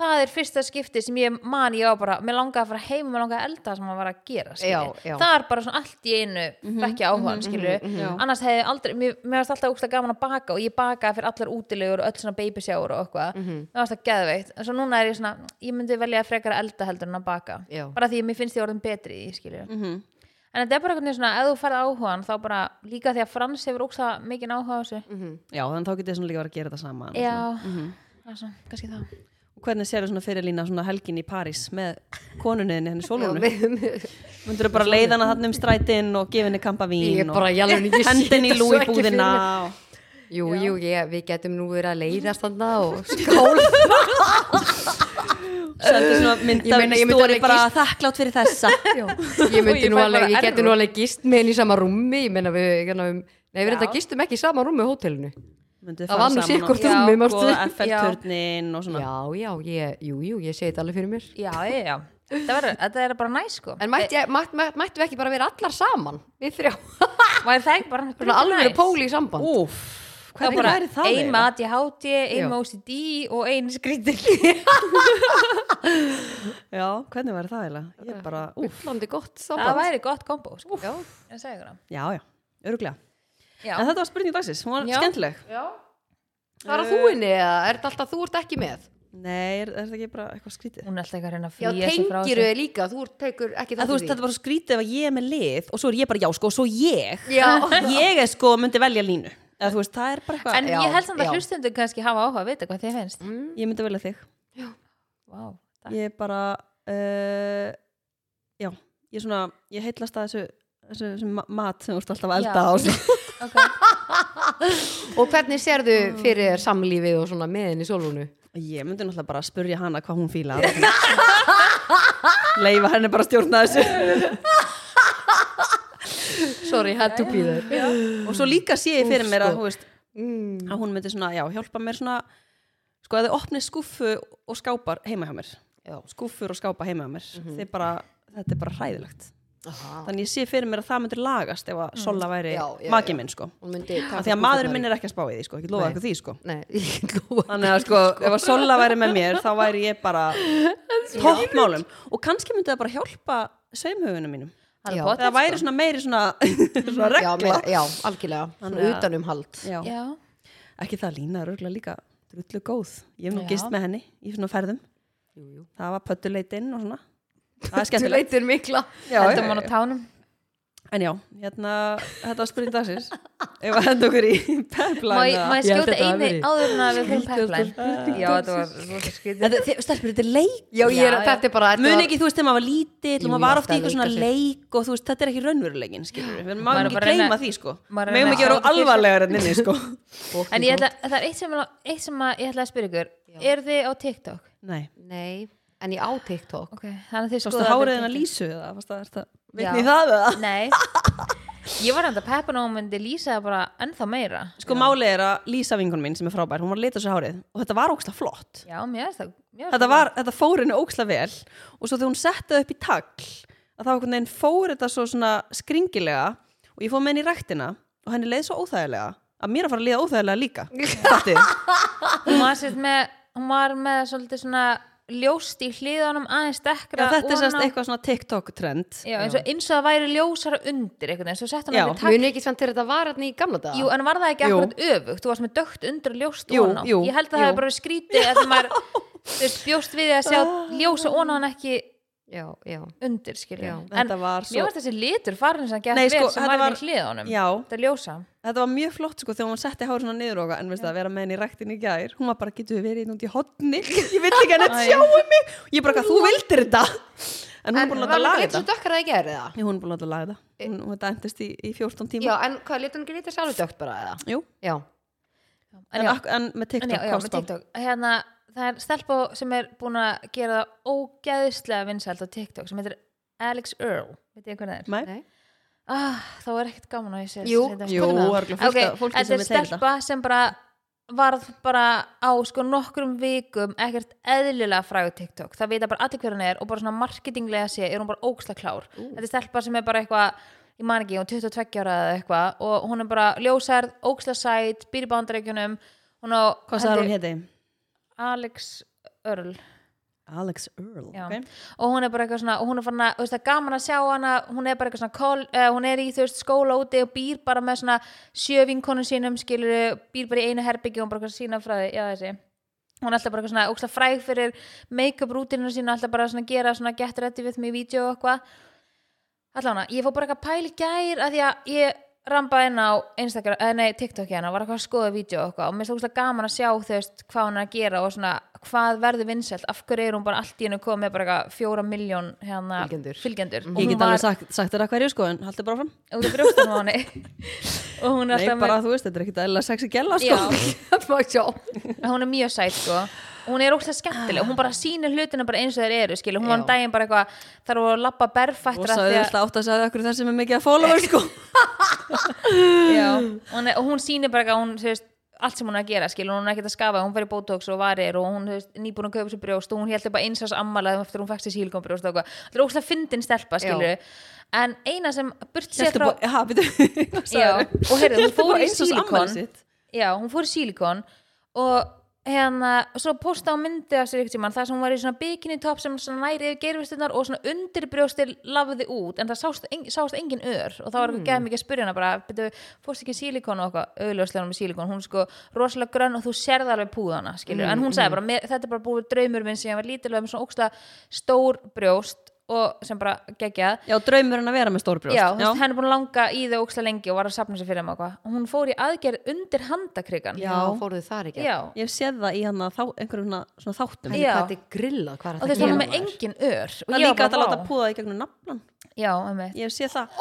það er fyrsta skipti sem ég man, ég var bara, mér langaði að fara heim og mér langaði að elda sem maður var að gera skilji, Já, já. það er bara svona allt í einu mm -hmm, ekki áhugan skilju, annars hefði aldrei, mér, mér varst alltaf úkslega gaman að baka og ég bakaði fyrir allar útilegur og öll svona babysjáur og eitthvað, mér varst það geðveikt, en svo núna er ég svona, ég myndi velja frekar að elda heldur en að baka Já. bara því að mér finnst ég orðin betri í því, skilju Mhm. en þetta er bara einhvern veginn svona, ef þú færð áhugan þá bara, líka því að Frans hefur ógsta mikið áhuga á þessu Já, þannig þá getur ég svona líka verið að gera þetta saman já, það er svona, kannski það Og Hvernig sérðu svona fyrirlína svona helgin í París með konunniðinni henni Já, sólunum? með- með- Myndur þú bara leiða hana þannig um strætin og gefa henni kampa vín Ég er bara, og ég alveg, ég sé hendin í þetta svo lúi ekki fyrir búðina mér. og... sko, Jú, jú, ég, við getum nú verið að leiðast þarna og skála Sendir svona mynd Ég meina, af ég myndi stóri alveg bara gist- þakklátt fyrir þessa ég myndi Ég nú fæ alveg, bara ég geti error. nú alveg gist með henni í sama rúmi, ég meina við, hérna, um, nei við Já. reynda gistum ekki í sama rúmi á hótelinu. Myndi Það var nú sér hvort Já, rúmi, mórstu. Góða FL-turnin og sko, svona Já, já, ég, jú, jú, ég segi þetta alveg fyrir mér. já, já, já. Þetta, var, þetta er bara næ sko En mætti, ég, mætt, mætt, mættu við ekki bara vera allar saman, við þrjá, Væri það ekki bara svona alveg pól í samband. Úf, Það hvernig bara væri það ein eiginlega? mat í háti, Já. ein OCD og ein skrítil Já, hvernig væri það eiginlega? Ég er bara, úf, Úflandi gott Það samband. væri gott kombo sko. Já, Ég segi ykkur það. já, já, öruglega Já. En þetta var spurning dagsins, hún var Já. skemmtileg já. Það er að þú inni, eða er þetta alltaf þú ert ekki með? Nei, er, er þetta ekki bara eitthvað skrítið? Hún er alltaf eitthvað að reyna að Já, flýja sig frá tengir þessu þau líka, þú ert- tekur ekki En það þú veist, þetta var svo skrítið ef að ég er með lið og svo er ég bara, já, sko, og svo ég Já, Ég er sko, myndi velja línu Eða þú veist, það er bara eitthvað En Já, ég held samt já. að hlustundu kannski hafa áhuga að vita hvað þið finnst Ég myndi velja þig Vá, takk. Ég er bara, uh, já, ég er svona, ég heitlast að þessu, þessu, þessu ma- mat sem þú ert alltaf að elda Já. á sig ok. og hvernig sérðu fyrir þér samlífið og svona með henni sólunu? Ég myndi náttúrulega bara að spurja hana hvað hún fíla Leifa henni bara að stjórna þessu Sorry, had to be there. Og svo líka sé ég fyrir Úff, mér að, sko. þú veist, Mm. að hún myndi svona, já, hjálpa mér svona Sko að þið opni skúffu og skápar heima hjá mér Já. Mhm. Skúffur og skápa heima hjá mér mm bara, Þetta er bara hræðilegt Aha. Þannig ég sé fyrir mér að það myndir lagast ef að Sola væri Mm. Já, já, maki já. minn sko Hún myndi taka Af Því að kúffurnar maðurinn í- minn er ekki að spá í því sko, ekki lofa Nei. eitthvað því sko Nei, ég lúa Þannig að sko, ef að Sola væri með mér þá væri ég bara toppmálum og kannski myndi það bara hjálpa sveimhugunum mínum Það Já. er það potið væri svona meiri svona, svona Já, regla með, já, algjörlega, svona Þannig að- utanumhald já. Já, ekki það Lína er örgulega líka drullu góð, ég hef nú Já. gist með henni í svona ferðum, Jú, jú. það var pöttuleitinn og svona, það er Þú skemmtilegt leitir mikla Já, já, þetta mann á já. tánum en já, hérna þetta var spurning dagsins ef að henda okkur í Má peplæna ég má ég Ég held skjóta þetta hafi einu verið- áður en að við fyrir Skrítið peplæn Já, þetta var rosa skrítið stelpur, þetta er leik Já, ég er, Já, já. þetta er bara þetta mun var- ekki, þú veist, þegar maður var lítill og Jú, maður var já, oft í eitthvað alltaf svona leika leik og þú veist, þetta er ekki raunverulegin, skilur við Maður við er máum ekki bara að reyna- gleyma því, sko maður er að reyna meðum ekki að að sjá vera þetta alvarlegar en inni, sko En ég ætla, það er eitt sem, er- eitt sem að, ég ætla að spyrja ykkur Er þið á TikTok? nei, Nei, en ég á TikTok Ok, þannig að þið fórstu skoða háriðin að lýsu eða, fórstu að þetta, vitni Já. í það eða Nei Ég var enda peppin og myndi lýsa það bara ennþá meira sko málið er að Lísa vingun mín sem er frábær, hún var að lita sér hárið og þetta var óksla flott Já, mér er það mér finnst þetta, var, þetta fór henni óksla vel og svo þegar hún setti það upp í tagl að það var einhvern veginn fór þetta svo svona skringilega og ég fór með henni í ræktina og henni leið svo óþægilega að mér er að fara að liða óþægilega líka Fattið þið? hún var, sérst, með, hún var með svolítið svona ljóst í hliðanum aðeins Já, dekkra þetta er ofan sérst á- eitthvað svona TikTok trend já, eins, og, eins og það væri ljósara undir einhvern veginn, svo sett hann Já. allir Mun ekki samt þegar þetta var hérna í gamla daga Jú, en var það ekki Jú. akkurat öfugt? Þú varst með dögt undir og ljóst Jú, ofan á jú, Ég held að jú. það hefði bara verið skrítið að það maður þú veist, bjóst við því að sjá ljósa ofan á hann ekki Já, já undir, skilja Já, En þetta var mér svo varst þessi litur farin sem gett Nei, vel sko, sem þetta var var- með hliðanum Já, Þetta er ljósa þetta var mjög flott sko þegar hún setti hárið svona niður okkar en veist það að vera með henni í ræktin í gær hún var bara, getur við verið út í hotni ég vil ekki að henni sjáu mig ég bara, þú vildir þetta en hún er En búin var að láta hann laga ekki þetta svo dökkar að ég gerði það? Jú, hún er búin að láta laga þetta hún, hún þetta endist í, í 14 tíma Já, en hvað, litur hann ekki lítið sjálfur dökkt bara eða? Jú, Já, en, já, ak- en með En TikTok já, já, með komst á. TikTok hérna, það er stelpa sem er búin að gera það ógeðislega vinsælt á TikTok sem heitir Alex Earl veit ég hvernig það er Nei, nei ah, þá er ekkert gaman að ég sé Jú, þetta. Jú, með það. örgulega fullt Ok, af fólki þetta sem er er teila stelpa sem bara varð bara á sko nokkrum vikum ekkert eðlilega fræðu TikTok það vita bara allir hver hún er og bara svona marketinglega sé er hún bara óksla klár þetta er stelpa sem er bara eitthvað ég man ekki, hún er 22 ára eða eitthvað og hún er bara ljósærð, óksla sæt býr í bandarækjunum hún á Hvað sagði hún held ég, héti? Alex Earl Alex Earl Já. ok. og hún er bara eitthvað svona og hún er farin að, þú veist það er gaman að sjá hana hún er bara eitthvað svona, kol, uh, hún er í þú veist skóla úti og býr bara með svona sjö vinkonum sínum skilur, býr bara í einu herbyggi og hún bara eitthvað sína frá því, já þessi hún er alltaf bara eitthvað svona, óksla fræg fyrir make-up rútinu sína, alltaf bara svona gera svona get ready with me vídeo og eitthvað allan að ég fór bara eitthvað pæli gær að því að ég rambaði inn á Instagram, eh, nei, TikTok hérna, var eitthvað að skoða vídeo og eitthvað og mér finnst það gaman að sjá þú veist hvað hún er að gera og svona hvað verður vinsælt, af hverju er hún bara allt í hennu komið með bara eitthvað fjóra miljón hérna Fylgjendur. fylgjendur. Mhm. og Ég get hún var alveg sagt, sagt þér að hverju sko en haldið bara áfram út af brjóstunum á henni og hún er Nei, alltaf bara þú veist, þetta er ekkit eðlilega sexy gæla sko Já. Má sjá með, hún er mjög sæt sko og hún er ókslega skemmtileg, hún bara sýnir hlutina bara eins og þeir eru, skilur, hún var um Já. daginn bara eitthvað þarf að lappa berfættra Rosa auðvitað átt að segja okkur þar sem er mikið að follower sko já, hún, er- og hún sýnir bara eitthvað, hún, þú veist, allt sem hún er að gera skilur, hún er ekkert að skafa, hún fer í botox og varir og hún þú veist, nýbúin að kaupa sér brjóst og hún heldur bara einsás ammalaðum eftir hún fækst sér sílgum brjóst og eitthvað, þetta er óslega fyndin stelpa skilur, en eina sem burt sér Hérstu frá, bara, ha, býtu já, og heyrðu, hún fór í sílikon sitt já, hún fór í sílikon og hérna, svo posta á myndi af sér ykkur tímann, þar sem hún var í svona bikini top sem svona næri yfir geirvistinnar og svona undirbrjóstir lafði út, en það sást, en, sást engin ör og þá var ekki geð mikið að spyrja hana bara, betur, fórst ekki í sílikon og eitthvað, auðljóslega með sílikon, hún er sko rosalega grönn og þú sérð alveg púðana, skilur, en hún sagði bara, mér, þetta er bara búið draumur minn sem ég var lítilega með svona óksla stór brjóst og sem bara geggjað Já, draumurinn að vera með stórbrjóst já, já. henn er búin að langa í þau óksla lengi og var að sapna sér fyrir maður hún fór í aðgerð undir handakrikan já, fóruðu þar ekki já. Ég hef séð það í hann að þá, einhverjum svona- svona þáttum Já. hvað þetta er grilla, og hvað er þú veist þetta hann að var með gera maður? engin ör og Það ég er líka var hægt að bara, láta vá. púða í gegnum naflan já, einmitt. Ég hef séð það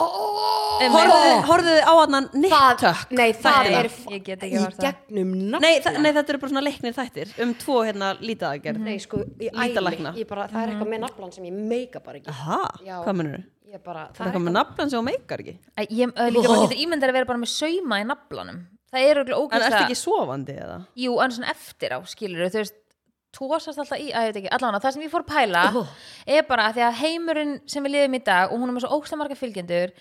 Einmitt. Horfðu- Horfðu þið á hann það, nýttök nei, það Þættina. er Ég get ekki í horft á það. gegnum nafn nei, þa- nei, þetta eru bara svona leiknir þættir Um tvo hérna lítaðagerð nei, sko, ég Lítalækna. æli ég bara, það er eitthvað með naflan sem ég meika bara ekki Aha, Já. hvað munur þau? ég bara, Ah. Það er það er eitthvað með naflan sem hún meikar ekki Æ, ég, ö, líka, maður getur ímyndar að vera bara með sauma í naflanum það er auðvitað En ertu ógæsta ekki sofandi eða? jú, en svona eftir á skilur þú veist tósast alltaf í, að ég veit ekki, allan það sem ég fór að pæla er bara að því að heimurinn sem við lifum í dag og hún er með svo ógstamarga fylgjendur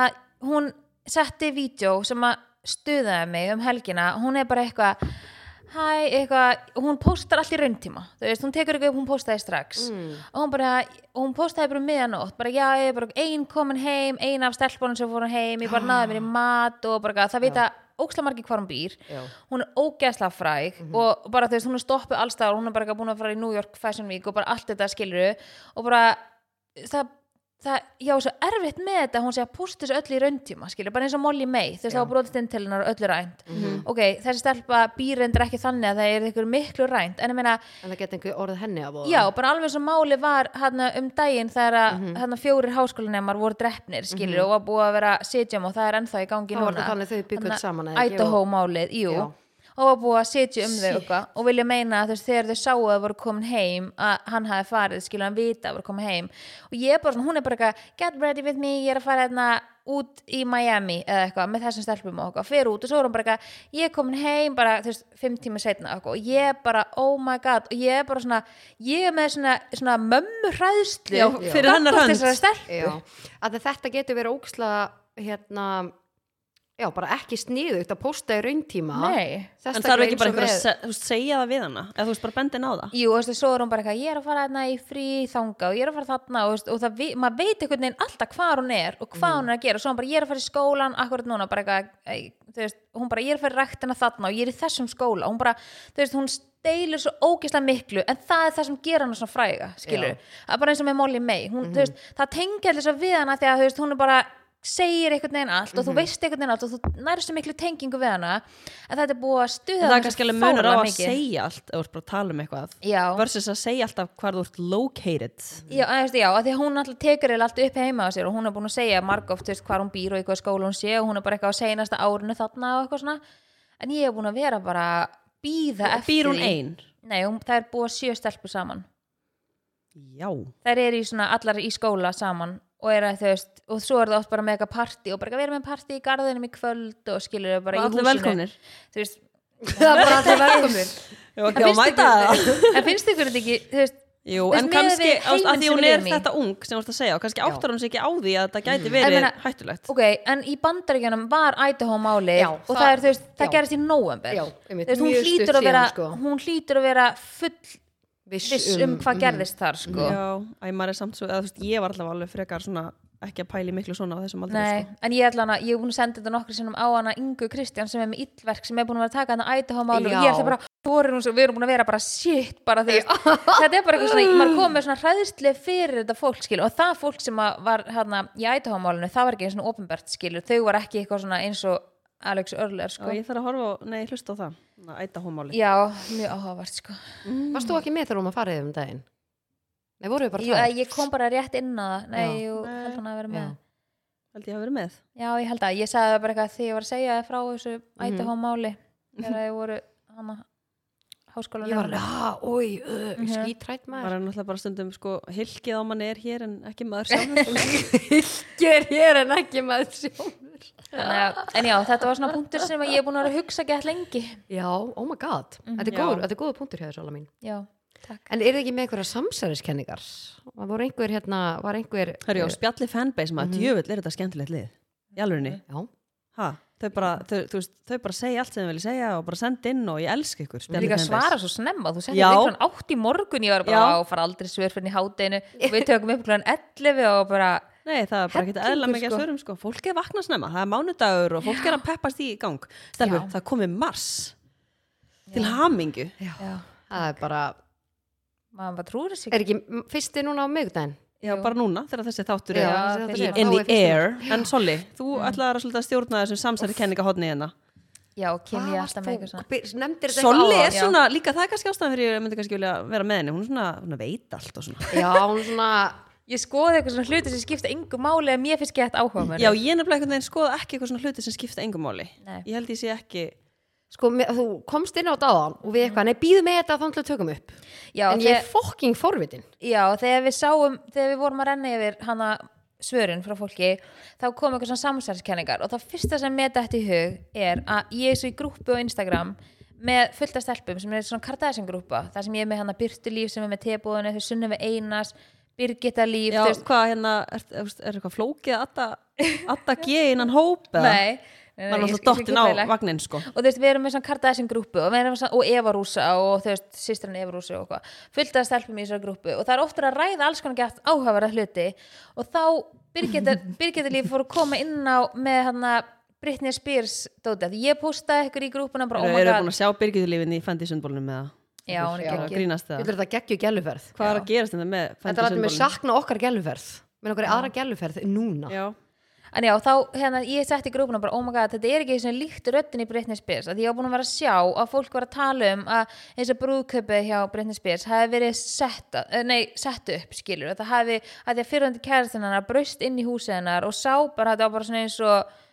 að hún setti vídeo sem að stuðaði mig um helgina hún er bara eitthvað hæ, eitthvað, hún postar allt í rauntíma þú veist, hún tekur eitthvað upp, hún postaði strax og hún bara, og hún postaði bara um miðanótt bara já, ég er bara ein komin heim ein af stelpunum sem fórum heim, ég bara náði mér í mat og bara, eitthvað. það vita ókslega margir hvar hún býr, Já. hún er ógeðslega fræg Mhm. og bara þú veist, hún er stoppuð allstaðar, hún er bara eitthvað búin að fara í New York Fashion Week og bara allt þetta skilur og bara, það það, já, svo erfitt með þetta að hún sé að posta þessu öllu í rauntíma, skilur, bara eins og Molly May, þú veist, þá var brotist inn til hennar og öllu rænt Mhm. ok, þessi stelpa býrendur ekki þannig að það er eitthvað miklu rænt, en ég meina en það geti einhver orðið henni að voða Já, bara alveg svo máli var hana, um daginn þegar mm Mhm. hana, fjórir háskólanemar voru drefnir, skilur, og var búið að vera sitjum og það er ennþá í gangi Það var núna. nú þannig þau bjuggu öll Þarna saman, eða ekki? Idaho Og- málið, jú. Já. Og var búið að sitja um þau eitthvað og vilja meina að þú veist, þegar þau sáu að þau voru komin heim að hann hafi farið, skilur, hann vita að voru komin heim. Og ég er bara svona, hún er bara eitthvað get ready with me, ég er að fara hérna út í Miami eða eitthvað með þessum stelpum og eitthvað, fer út og svo er hún bara eitthvað ég er komin heim bara, þú veist, fimm tíma setna eitthvað, og ég er bara, oh my god og ég er bara svona, ég er með svona, svona mömmu hræðslu Já, fyrir hennar hönd. þessara stelpu Já, að þetta getur verið óksla hérna, já, bara ekki sniðugt að posta í rauntíma Nei. En Sérstaklega þarf ekki eins og bara einhver að með- se- þú veist, segja það við hana Eða þú veist bara bendin á það Jú, og þú veist, svo er hún bara eitthvað, ég er að fara þarna í frí þanga og ég er að fara þarna og, þú veist, og það, vi- maður veit einhvern veginn alltaf hvað hún er og hvað hún er að gera, svo hún bara, ég er að fara í skólan akkurat núna, bara eitthvað, ei, þú veist hún bara, ég er að fara í ræktina þarna og ég er í þessum skóla hún bara, þú veist, hún deilur svo ógeðslega miklu, en það er það sem gera hana svona fræga, skilur, það er bara eins og með Molly May, hún, Mhm. þú veist, það tengja allir svo við hana þegar, þú veist, hún er bara segir einhvern veginn allt Mhm. og þú veist einhvern veginn allt og þú nærist svo miklu tengingu við hana en þetta er búið að stuða En það hana er svo kannski alveg munur á fáránlega að mikið. segja allt Ef þú ert bara að tala um eitthvað Já. Versus að segja alltaf hvar þú ert located Já, að, veist, já, að því að hún alltaf tekur eða alltaf upp heima á sér og hún er búin að segja margóft veist, hvar hún býr og í hvað skóla hún sé og hún er bara eitthvað á seinasta árinu þarna og eitthvað svona en ég er búin að vera bara að býða eftir Býr hún því. ein? Nei, hún, það er búið sjö stelpur saman Já þær eru í svona allar í skóla saman og er að þau veist og svo er það oft bara með eitthvað partí og bara eitthvað, við erum með partí í garðinum í kvöld og skilur þau bara Og í allir húsinu velkomnir. Þú veist, það er bara alltaf velkomin Já, en ok, og finnst mæta það ykkur- en finnst ykkur þetta ekki þú veist, Þú Jú, veist, en miðað við kannski, ást, heiminn að því sem hún við er erum í. þetta ung sem þú ert að segja og kannski áttar hún sig ekki á því að það gæti Mm-hmm. En verið meina- hættulegt ok, en í bandaríkjunum var Idaho máli Já, og það, það- er, þú veist, það já. gerist í november Já, Þú einmitt, veist, hún, mjög hlýtur stutt að vera, síðan, sko. hún hlýtur að vera full viss, mm. viss um, hvað gerðist þar sko. Já, æ, maður er samt svo, eða þú veist, ég var alltaf alveg frekar svona ekki að pæli miklu svona á þessum sko. aldrei Nei, sko. en ég ætla hana, ég er búin að senda þetta nokkru sinnum á hana Ingu Kristján sem er með illverk sem er búin að vera að taka hana Idaho máli og Já. ég ætla bara, voru hún svo, við erum búin að vera bara shit bara því, þetta er bara eitthvað svona maður kom með svona hræðislega fyrir þetta fólk skil og það fólk sem að var hana í Idaho málinu, það var ekki eins og ofinbert skil þau var ekki eitthvað svona eins og Alex Örler Og sko. ég þarf að horfa á, nei, hlusta á það Ná, æta Mm, hómáli Já, mjög áhugavert sko varst þú ekki með þegar hún var farið um daginn nei, voru við bara Jú, eh, tvær ég kom bara rétt inn á það Nei, Já. jú, Nei. held hann að vera með Já. Held ég að vera með Já, ég held að, ég Mhm. sagði það bara eitthvað því ég var að segja þér frá þessu Idaho máli þegar þið voru hana háskóla Ég var alveg, ha, oi, uh, Mhm. ég skítrætt Það maður. er náttúrulega bara stundum sko hilkið á manni er hér en ekki maður sjálfur. sko. Ger hér en ekki maður sjónur. En já, þetta var svona punktur sem ég er búin að vera að hugsa gett lengi Já, oh my god. Þetta er Já. góður, þetta er góður punktur hjá þér, Sola mín. Já, takk En er þið ekki með einhverja samsæriskenningar? Það voru einhver hérna, var einhver... Hörru, já, spjalli fanbase maður, djöfull er þetta skemmtilegt lið. Í alvegni. Já. Ha, þau bara, þau, þú veist, þau bara segja allt sem þau vilja segja og bara senda inn og ég elska ykkur. spjalli Líka fanbase. svara svo snemma, þú settir Já. ykkur átt í morgun Ég var bara Já. á að fara aldrei svörfinn í hátdeinu Við tökum upp klukkan 11 og bara Nei, það er bara ekkert Hellingur, eðla mikið að sko. svörum sko. Fólk er vakna snemma, það er mánudagur og fólk er að peppast í gang. Stelfur, Já. það er komið mars til hamingu. Já, Það er bara, maður bara trúir þessu er ekki fyrsti núna á miðgudaginn? Já, bara núna þegar þessi þáttur Já, er Já, þessi þessi er þáttur er- in þá the er fyrsti núna. air. En Solli, þú ætlaði að svolítið að stjórna þessum samsæri kenninga hodni hérna. Já, kem Hvað ég varst alltaf með þú- eitthvað svona byr- Nefndir þetta Solli er áðan? já. svona, líka það er kannski ástæðan fyrir ég myndi kannski vilja vera með henni. Hún er svona, hún veit allt og svona. Já, hún svona... Ég skoði eitthvað svona hluti sem skipta engu máli að mér finnst gett áhuga mér Já, ég nefnilega einhvern veginn skoða ekki eitthvað svona hluti sem skipta engum máli. Nei. Ég held ég sé ekki, Sko, mér, þú komst inn á dáðan og við eitthvað, nei, býðu með þetta þannig að tökum upp. já, en ég er fokking forvitin. Já, þegar við sáum, þegar við vorum að renna yfir hana svörin frá fólki þá kom eitthvað svona samsæðiskenningar og það fyrsta sem mér dætti í hug er að ég er svo í grúppu á Instagram með fullt af stelpum sem er svona kardæsing grúppa þar sem ég er með hana Byrtulíf sem er með tebúðinu þau sunnum við Einars, Birgitta Líf já, þú veist, hvað hérna, er, er, er eitthvað flókið að Adda, Adda G innan hóp eða? nei, nei, nei, maður er ég- alltaf ég- ég- dottinn ég- á ég- ég- vagnin sko og þú veist, við erum með svona kardæsing grúppu og, við erum með svona- og Eva Rúsa og þú veist, sýstran Eva Rúsa og hvað, fullt af stelpum í þessari grúppu og það er oftur að ræða alls konar gett áhugaverða hluti og þá Birgitta líf fór að koma inn á með hann að Britney Spears dóti, því ég postaði ykkur í grúppuna bara, oh eru my eru búin god, að sjá Birgiðulífin í Fendi-sundbólunum með já, hún Já. er að ekki grínast Þú það veist þetta geggju gæluferð. hvað er að gerast þetta með Þetta lætur mig Fendi-sundbólunum sakna okkar gæluferð. Með okkar aðra gæluferð núna. já, En já, þá, hérna, ég setti í grúpuna bara, oh my god, þetta er ekki svona líkt röddin í Britney Spears, að ég var búin að vera að sjá að fólk var að tala um að eins og brúðkaupið hjá Britney Spears hafi verið setta, eh, nei, sett upp, skilur, að það hafi, að því að fyrrandi kærastinn hennar braust inn í húsið hennar og sá bara, þetta var bara svona eins og,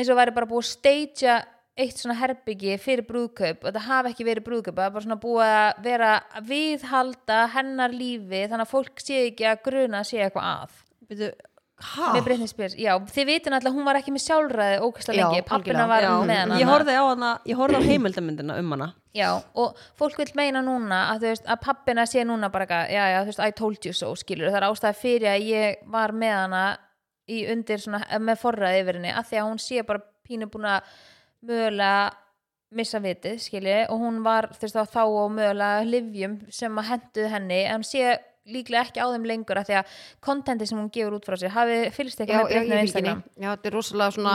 eins og væri bara búið að stagea eitt svona herbyggi fyrir brúðkaup og það hafi ekki verið brúðkaup, það er bara svona búið að vera að viðhalda hennar lífi þannig að fólk sé ekki að gruna að sé eitthvað að byrju, Ah. með hæ? Britney Spears, já, þið vitin alltaf hún var ekki með sjálfræði ókvæslega Já, lengi, pappina algjörlega. var Já, með hana ég horfði á hana, ég horfði á heimildamindina um hana já, og fólk vil meina núna að, þú veist, að pappina sé núna bara eitthvað, já, já, þú veist, I told you so, skilur það er ástæða fyrir að ég var með hana í undir svona, með forræði yfir henni, að því að hún sé bara pínu búin að mögulega missa vitið, skilji, og hún var þú veist, á þá og mögulega livjum sem að henduð henni, en hún sé líklega ekki á þeim lengur að því að kontenti sem hún gefur út frá sér, hafi fylgst Já, eitthvað með já, Britney á ég fylgir henni. Instagram Já, þetta er rosalega svona...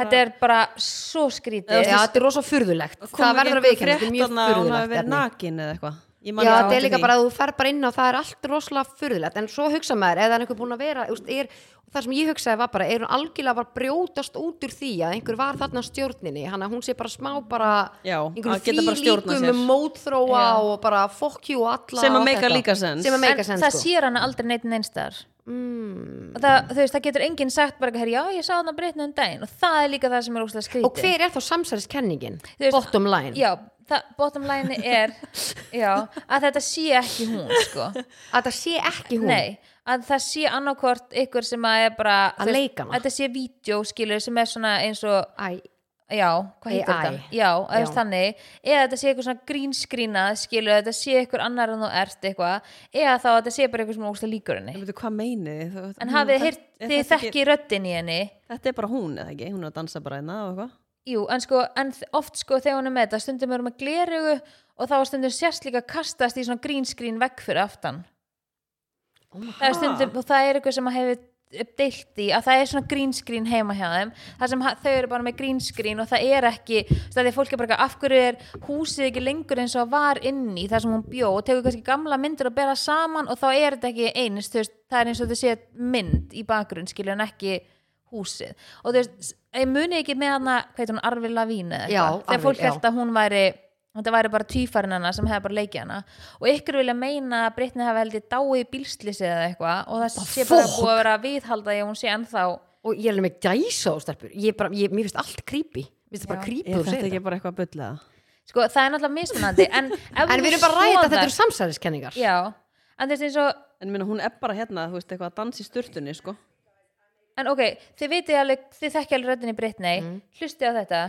Þetta er bara svo skrítið Já, þetta er rosalega furðulegt. Það verður að viðkennast, þetta er mjög fréttana að hún hafi furðulegt. verið efni. nakin eða eitthvað Ég man Já, ekki þetta er eftir líka því. bara að þú fer bara inn á það er allt rosalega furðulegt en svo hugsa maður, eða er einhver búin að vera úst, er, það sem ég hugsaði var bara, er hún algjörlega bara brjótast út úr því að einhver var þarna á stjórninni, hann að hún sé bara smá bara Já, einhverjum að geta bara stjórnað fýlíkum sér. um mótþróa Já. og bara fuck you og alla Sem að og allt make a þetta. líka sens. sem að En meika sens það sko. sér hana aldrei neitt neinstar mm. og það, þú veist, það getur enginn sagt bara, "Herra, já, ég sá hana breytna um daginn og það er líka það sem er óslega skrítið og hver er þá samsæriskenningin Þú veist- bottom line, Já, það, bottom line er já, að þetta sé ekki hún sko. að það sé ekki hún Nei, að það sé annarkvort ykkur sem að er bara Að þú veist, leika hana. að Þetta sé vídeo, skilur, sem er svona eins og Æ, já, hvað heitir AI. þetta? Já, eða Já. þannig eða þetta sé eitthvað svona grínskrína skilur, þetta sé eitthvað annar en þú ert eitthvað, eða þá að þetta sé bara eitthvað sem óslega líkur henni Ég veit, Hvað meinið þið? Þú- En hún- hafið þetta- hirt, er þið þetta ekki- þekki röddin í henni Þetta er bara hún eða ekki, hún er að dansa bara einna og eitthvað Jú, en sko, en þ- oft sko þegar hún er með þetta stundum er hún með glerugu og þá er stundum sérst líka kastast í svona grínskrín vekk fyrir aftan Oh my það er stundum, og það er eitthvað sem að hefur deilt í að það er svona grínskrín heima hjá þeim það sem ha- þau eru bara með grínskrín og það er ekki það er fólk er bara eitthvað, af hverju er húsið ekki lengur eins og var inni þar sem hún bjó og tekur kannski gamla myndir og bera saman og þá er þetta ekki eins þú veist, það er eins og þau sé mynd í bakgrunn skilja en ekki húsið og þú veist, ég muni ekki með hana hvað heitir hún, Arvi Lavín eða Já, eitthvað Arvi, þegar fólk já. held að hún væri þetta væri bara tvífærin hana sem hefði bara leikið hana og ykkur vilja meina að Brittany hafi held ég dái í bílslýsi eða eitthvað og það Bara sé bara fokk. búið að vera að viðhalda því að hún sé ennþá og ég er alveg með gæsa á stelpur ég bara, ég, mér finnst allt creepy mér finnst það bara creepy Er þú þetta segir ekki bara eitthvað að bulla það? sko það er náttúrulega mismunandi en, en En við erum bara að ræða að þetta eru samsæðiskenningar já, en þú veist eins og En minna, hún er bara hérna, þú veist, eitthvað að dansa í sturtunni, sko. en ok, þið vitið alveg, þið þekkja alveg röddinni Britney, Mm. hlustið á þetta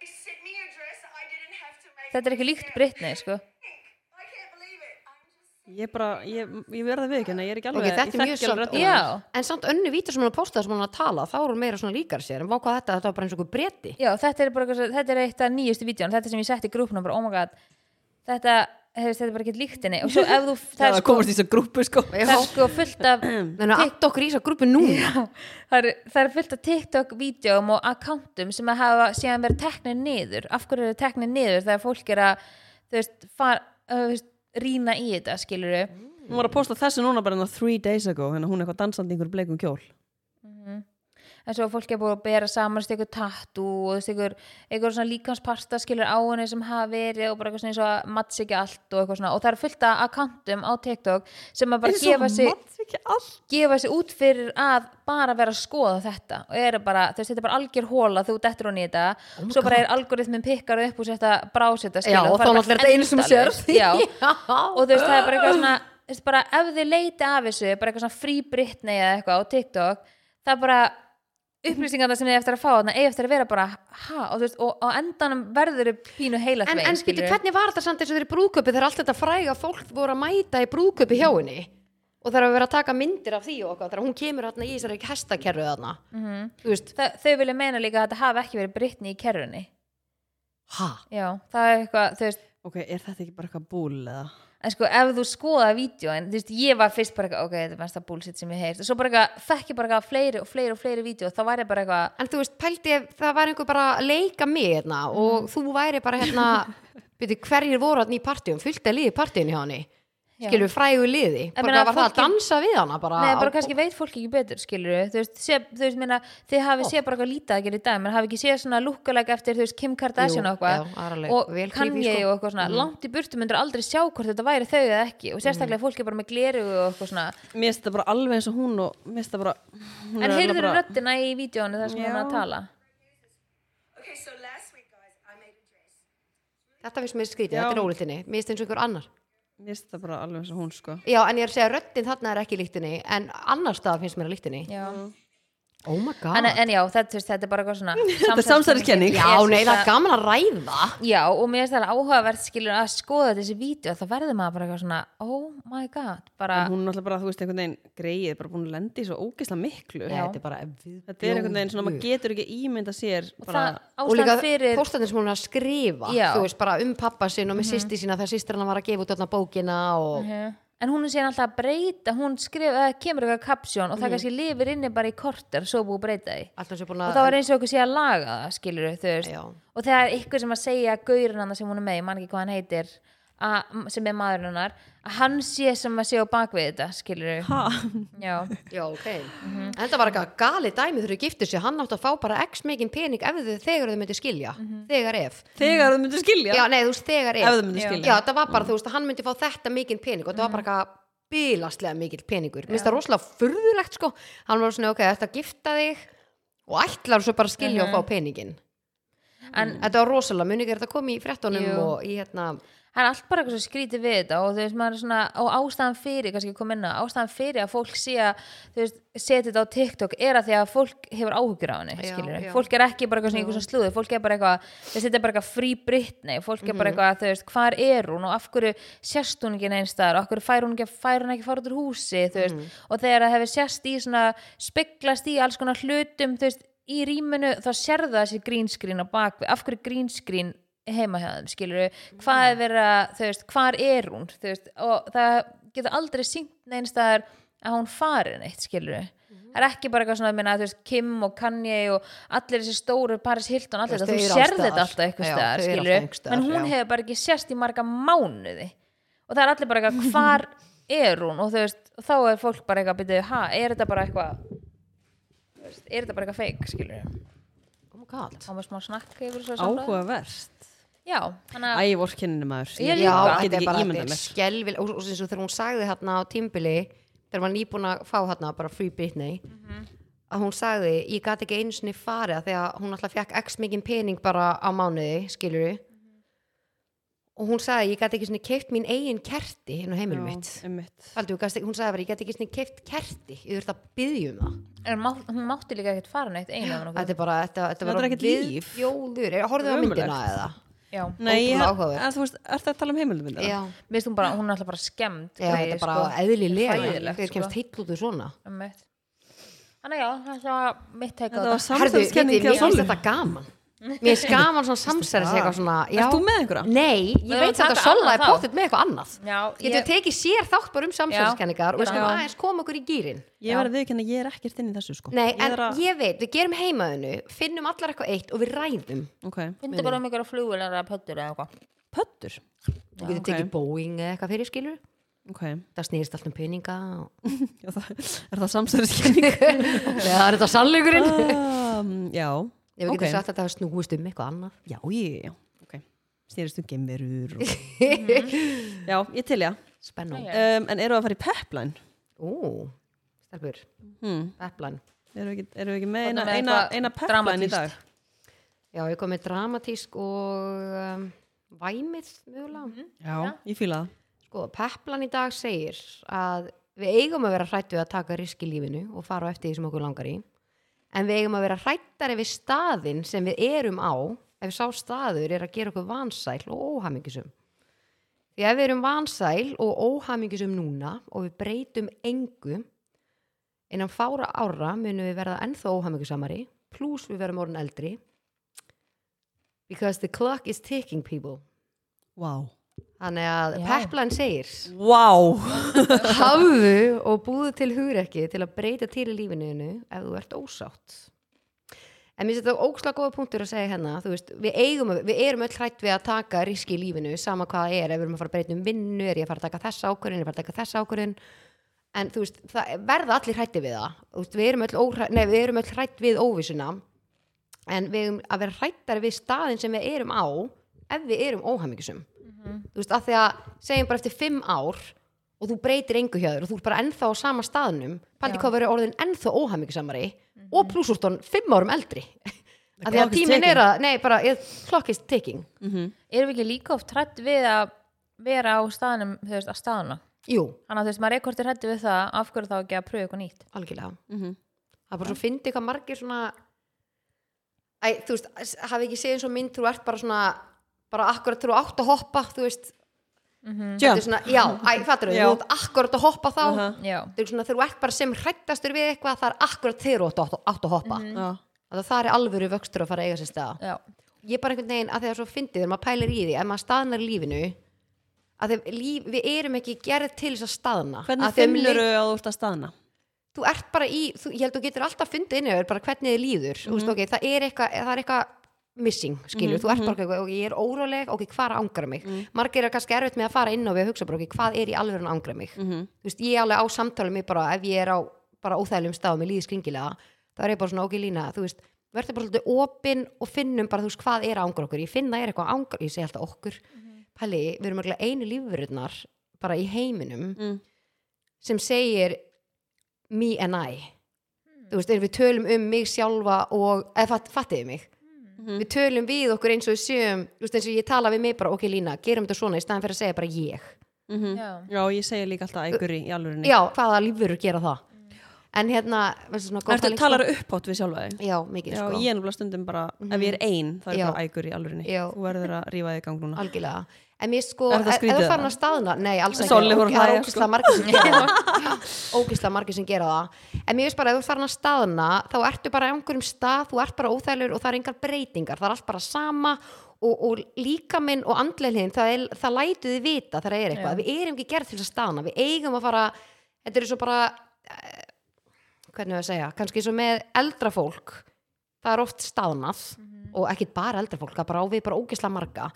You sent me a dress I didn't have to make. þetta er ekki líkt Britney, sko I can't believe it. I'm just Ég bara, ég, ég verða við ekki, en ég er ekki Ok, alveg, þetta er ég mjög þekki alveg samt röddina. Já. En samt önnu vítur sem hún er að posta sem hún er að tala þá er hún meira svona líkar sér en vá hvað þetta, þetta var bara eins og einhver breti já, þetta er bara, eitthvað svo- þetta er eitt af nýjustu vídjón þetta sem ég setti í grúpnum, bara oh my god þetta, hefur, þetta er bara ekki líktinni og svo ef þú, Það það er að sko, komast í þessa grúpu, sko. það er sko fullt af Þannig að allt okkur í þessa grúpi nú það er, það er fullt af TikTok-vídeóm og accountum sem að hafa síðan verið teknir niður af hverju eru teknir niður þegar fólk er að þú veist, far, uh, þú veist, rýna í þetta skilur við Hún var að posta þessu núna bara enná three days ago, hérna hún er eitthvað dansandi í einhverju bleikum kjól. en svo fólk er búið að bera saman stegur tattu og stegur eitthvað svona líkansparta skilur á henni sem hafa verið og bara eitthvað svona eins og að matts ekki allt og eitthvað svona og það er fullt af accountum á TikTok sem að bara gefa sig Mats ekki all. gefa sér út fyrir að bara vera að skoða þetta og eru bara, þú veist, þetta er bara algjör hóla þú dettur hún í þetta, svo bara er algoritmin pikkar upp og sér þetta brásetta Oh Já, og þá náttúrulega er þetta einu sem sér Já, og þú veist, það er bara eitthvað svona þú veist, bara ef þið leiti af þessu bara eitthvað svona frí brittni eða eitthvað á TikTok það er bara upplýsingarna sem þið eftir að fá þarna eigi eftir að vera bara ha, og þú veist, og á endanum verður þau pínu heila En, en býtu, hvernig var þetta samt eins og þeirri brúðköpi þegar allt þetta fræga fólk voru að mæta í brúðköpi hjá henni og þegar að vera að taka myndir af því og okkar þegar hún kemur hérna í þessari hestakerru þarna Mhm. Þú veist, þau vilja meina líka að þetta hafi ekki verið brittni í kerrunni ha? já, það er eitthvað, þú veist Ok, er þetta ekki bara eitthvað búl eða? en sko ef þú skoða vídjóin, þú veist, ég var fyrst bara eitthvað, ok, þetta er mesta bullshit sem ég heyrst og svo bara eitthvað, þekki bara eitthvað fleiri og fleiri og fleiri vídjó, þá væri bara eitthvað En þú veist, pældi ef það væri einhver bara að leika mig hérna og þú væri bara hérna býtu, hverjir voru hérna í partíum, fullt að liði í partíinu hjá henni Já. skilur frægu liði, bara meina, var það að fólki- dansa við hana bara, Nei, á- bara kannski veit fólk ekki betur, skilur þú veist, sé, þú veist, minna, þið hafi séð bara eitthvað lítið að gera í dag, menn hafi ekki séð svona lúkkalega eftir, þú veist, Kim Kardashian Jú, og eitthvað já, það er alveg og vel kann creepy, ég sko. og eitthvað svona, langt í burtu myndur aldrei sjá hvort þetta væri þau eða ekki og Mm. sérstaklega fólk er bara með gleru og eitthvað svona Mér finnst þetta bara alveg eins og hún og mér finnst þetta bara... hún en er heyrður bara- röddina í vídjónu þar sem hún er að Já. tala Okay, so last week, guys, I made a dress. þetta finnst mér skrítið, Já. þetta er ólítinni mér finnst eins og einhver annar Mér finnst þetta bara alveg eins og hún, sko. Já, en ég er að segja að röddinn þarna er ekki líktinni en annar stað finnst mér að líktinni Já. Oh my god En, en já, þetta, þú veist, þetta er bara eitthvað svona Þetta er samsæriskenning. Já, Ég nei, syns það að- er gaman að ræða Já, og mér finnst það alveg áhugavert skilur að skoða þessi vídeo, þá verður maður bara eitthvað svona oh my god, bara En hún er alltaf bara, þú veist, einhvern veginn greið, bara búin að lenda í svo ógeðslega miklu. Nei, þetta er bara Þetta er einhvern veginn svona, maður getur ekki ímynda sér bara, það og líka ástæðan fyrir póstarnir sem hún er að skrifa Já. þú veist bara um pappa sinn og með mm sýsti sína þegar sýstir hann var að gefa út öllna bókina og Mhm. en hún er síðan alltaf að breyta hún skrif, eða kemur eitthvað kapsjón og það kannski lifir inni bara í korter svo búið að breyta því allt hans er búin og að það var eins og okkur sé að laga það skilur þau, þú veist Já. og þegar er ykkur sem að segja að gaurinn hann sem hún er með, ég man ekki hvað hann heitir að, sem er maðurinn hennar að hann sé sem að sé á bakvið þetta skilur ha, já Já, ok. En þetta var eitthvað gali dæmi þegar þau giftu sig, hann átti að fá bara x megin pening ef þau þegar þau myndi skilja þegar ef, þegar þú myndir skilja. já nei þú veist þegar ef, Ef þau myndu skilja. já þetta var bara þú veist að hann myndi fá þetta mikinn pening og þetta var bara Mhm. eitthvað bílastlega mikill peningur, minnst það rosalega furðulegt sko, hann var svona ok, þetta gifta þig og ætlar svo bara að skilja og fá Mhm. peningin En- þetta var rosalega, muni ekki er þetta komið í fréttunum Jú. og í hérna það er allt bara eitthvað svo skrítið við þetta og þú veist maður er svona og ástæðan fyrir kannski kom inn á ástæðan fyrir að fólk sé að þú veist setja þetta á TikTok er að því að fólk hefur áhugur á henni Já, skilur já. fólk er ekki bara eitthvað svona einhverjum slúðu fólk er bara eitthvað þess þetta er bara eitthvað frí brittni fólk er Mhm. bara eitthvað þú veist hvar er hún og af hverju sérst hún ekki neins þar og af hverju fær hún ekki fær hún ekki að fara út úr húsi þú Mhm. veist og þegar það hefur sérst í svona speglast í alls konar hlutum þú veist í rýminu þá sérðu það þessi grínskrín á bakvið, af hverju grínskrín heima hjá þeim, skilur Mm. hvað er verið að, þú veist, hvar er hún þú veist, og það getur aldrei sínt neins staðar að hún farin eitt, skilur Mhm. það er ekki bara eitthvað svona, minna, þú veist, Kim og Kanye og allir þessi stóru Paris Hilton allir Þú þetta, veist, þú þau sérði eru alls þetta staðar. alltaf eitthvað Já, staðar, þau eru skilur alltaf einhvers staðar, en hún já. hefur bara ekki sérst í marga mánuði og það er allir bara eitthvað, hvar er hún og þú veist, og þá er fólk bara eitthvað byrjuð, ha, er þetta bara eitthvað þú veist, er þetta bara eitthvað feik, skilur oh my god þá var smá snakk yfir svo samræðu. Áhugaverst. já, þannig að Æ, vorkenninni maður. Ég Já, líka. þetta Get er ekki bara ímyndað þetta mér. er skelvil og, og eins og þegar hún sagði hérna á tímbili þegar hann íbúin að fá hérna bara Free Britney að hún sagði, ég gat ekki einu sinni farið af því að hún alltaf fekk x mikinn pening bara á mánuði, skilur við og hún sagði ég gæti ekki svona keift mín eigin kerti hérna á heimilum mitt Já, einmitt. Aldi, gæst, hún sagði bara ég gæti ekki svona keift kerti ég þurft að byggja um það En má, hún mátti líka ekkert fara neitt eiginlega þetta er bara, þetta, þetta Þetta var er ekkert líf. jóður, horfðu á Ömurlegt. myndina eða Já, Nei, ég, Ótrúlega áhugavert. en þú veist, ert það að tala um heimildumindina? já, minnst hún bara, hún er alltaf bara sko. skemmt já þetta er sko bara eðlilega Hræðilegt, hver sko. kemst heill út úr svona Þannig já, það var mitt teika á þetta Þetta var Herðu, samstæðiskenning mér hjá finnst Sólu. þetta gaman Mér finnst gaman svona samsæris eitthvað svona já. Ert þú með einhverja? Nei, ég Við erum veit að þetta taka Sola er annað þá. pottitt með eitthvað annað Já, Getur ég, tekið sér þátt bara um samsæriskenningar og við Já. skulum aðeins koma okkur í gýrin Ég verði viðkynna, ég er ekkert inn í þessu sko. Nei, ég en er að... ég veit, við gerum heimaðinu finnum allar eitthvað eitt og við ræðum Ok. fundi bara um ykkur að flugur eða pöttur eða eitthvað Pöttur? Þú getur ok. tekið Boeing eða eitthvað fyrir skilur Ok. Já, Það snýðist allt um peninga og... það, er það samstæðiskenning? Nei, það er þetta sannleikurinn um, já. Ef við Ok. getum sagt að það snúist um eitthvað annað Já, ég, já. Ok. Snýrist um gemverur og... já, ég til já. Spennum Já, já. Um, en eru að fara í pepline? Ú, stelpur, Hmm. eplan Eru ekki, eru ekki með Þarna eina, með eina, eitthvað eina pepline í dramatískt. dag? Já, ég kom með dramatísk og um, væmið mögulega. Já. Ég fíla það. Sko, Peplan í dag segir að við eigum að vera hrættu að taka risk í lífinu og fara á eftir því sem okkur langar í. En við eigum að vera hrættari við staðinn sem við erum á ef sá staður er að gera okkur vansæl og óhamingisum. Því ef við erum vansæl og óhamingisum núna og við breytum engu innan fára ára munum við verða ennþá óhamingisamari pluss við verðum orðin eldri because the clock is ticking people. Vá. Þannig að Já. Peplan segir Vá. hafðu og búðu til hugrekki til að breyta til í lífinu ef þú ert ósátt en mér finnst þetta ókslega góða punktur að segja hérna þú veist, við eigum, að- við erum öll hrætt við að taka riski í lífinu, sama hvað það er ef við erum að fara að breyta um vinnu, er ég að fara að taka þessa ákvörðin er ég að fara að taka þessa ákvörðin en þú veist, það verða allir hrætti við það Þú veist, við erum öll, óhræ... Nei, við erum öll hrætt við óvissuna en við erum að vera hrættari við staðin sem við erum á ef við erum óhamingisum Mhm. þú veist, að því að segjum bara eftir fimm ár og þú breytir engu hjá þér og þú ert bara ennþá á sama staðnum pældi Já. hvað verið orðin ennþá óhamingisamari og plussúrtón fimm árum eldri að því Mhm. clock að is tíminn er ticking. að nei, bara, eh, clock is ticking Erum við ekki líka oft hrætt við að vera á staðanum, þú veist, að staðana jú, Þannig að þú veist, maður er ekkert hrætt við það af hverju þá ekki að pröfa eitthvað nýtt algjörlega Mm-hmm. það er bara svo fyndi hvað margir svona Æ, þú veist, s- hafi ekki séð eins og mynd þú ert bara svona, bara akkurat þú átt að hoppa, þú veist þetta er Jump. svona, já, æ, fattur þú Já. þú átt akkurat að hoppa þá Aha. Já, þetta er svona þegar þú ert bara sem hrættastur við eitthvað það er akkurat þegar þú átt að- átt að hoppa mm Já. -hmm. það er alvöru vöxtur að fara að eiga sér staða já, ég er bara einhvern veginn að þegar svo fyndið þegar maður pælir í því, ef maður staðnar í lífinu að þegar líf, við erum ekki gerð til þess að staðna Hvernig Að þeim finnur leik- þú að þú ert að staðna? þú ert bara í, þú, ég held þú getur alltaf fundið inn yfir bara hvernig þið líður mm veist, okay, það er eitthvað það er eitthvað missing, skilur, þú ert bara eitthvað, okay, ég er óróleg, ok, hvað ángra mig margir eru kannski erfitt með að fara inn á við að hugsa bara, okay, hvað er í alveg að ángra mig þú veist, ég er alveg á samtali mig bara ef ég er á bara óþægilegum stað og mér líður skringilega þá er ég bara svona, ok, lína, þú veist verður bara svolítið opinn og finnum bara, þú veist, hvað er að ángra okkur, ég finn það er eitthvað að angra ég segi alltaf okkur, pæli, við erum örugglega einu lífverurnar bara í heiminum Mm. sem segir me and I Hmm. þú veist, ef við tölum um mig sjálfa og, eða fatt, fattiði mig Hmm. við tölum við okkur eins og við séum þú veist, eins og ég tala við mig bara, ok Lína gerum þetta svona í staðan fyrir að segja bara ég já Já, ég segi líka alltaf ægur í alvörinni. mhm. já, hvaða lífur gera það en hérna, veistu svona góð Hmm. Ertu pæling, sko. talar upphátt við sjálfa þig? já, mikið Já, sko, Mhm. ég er nefnilega stundum bara, ef ég er ein, þá er Já. ég bara ægur í alvörinni. Já. Þú verður að rífa þig í gang núna. algjörlega en mér sko, Er ef það ef skrítið þú eða? farin að staðna nei, alls ekki, Solli sko. fór að Ok, það er hlæja, ógislega margir sem gera það ógislega margir sem gera það en mér veist bara, ef þú farin að staðna þá ertu bara á einhverjum stað, þú ert bara óþælur og það er engar breytingar, það er allt bara sama og, og líka minn og andleilin það, er- það lætu þið vita þegar það er eitthvað við erum ekki gerð til að staðna, við eigum að fara þetta er svo bara eh, hvernig við að segja, kannski svo með eldra fólk það er oft staðnað og ekkit bara eldra fólk, það er bara á við bara ógislega marga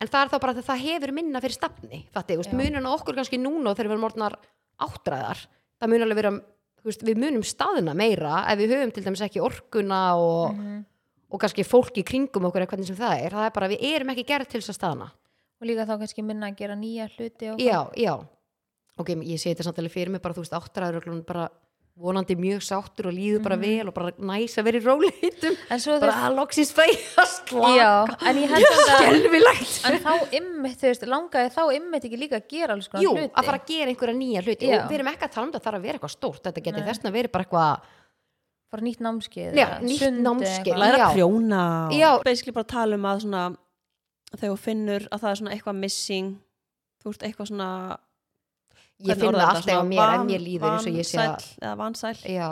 en það er þá bara að það hefur minna fyrir stafni fatti, veist, munun á okkur kannski núna og þegar við erum orðnar áttræðar það mun alveg vera, þú veist, við munum staðina meira ef við höfum til dæmis ekki orkuna og, og kannski fólk í kringum okkur eða hvernig sem það er það er bara að við erum ekki gerð til þess að staðna og líka þá kannski minna að gera nýja hluti og já, já ok, ég sé þetta samtalið fyrir mig bara, þú veist, áttræður bara, vonandi mjög sáttur og líður bara vel og bara næs að vera í róleitum En svo Mhm. þú bara veist- að loksins fæ ég að slaka Já, en ég held samt að skelfilegt En þá ymmit, þú veist, langaði þá ymmit ekki líka að gera alls konar Jú, hluti að fara að gera einhverja nýja hluti Já. og við erum ekki að tala um það þarf að vera eitthvað stórt þetta getur þessna verið bara eitthvað Bara nýtt námskeið Já, eða nýtt sund eða námskeið. eitthvað. læra Já. að prjóna og Já. basically bara tala um að svona þegar þú finnur að það er svona eitthvað missing þú ert eitthvað svona ég finn það alltaf á mér en mér líður eins og ég sé að eða vansæl, já,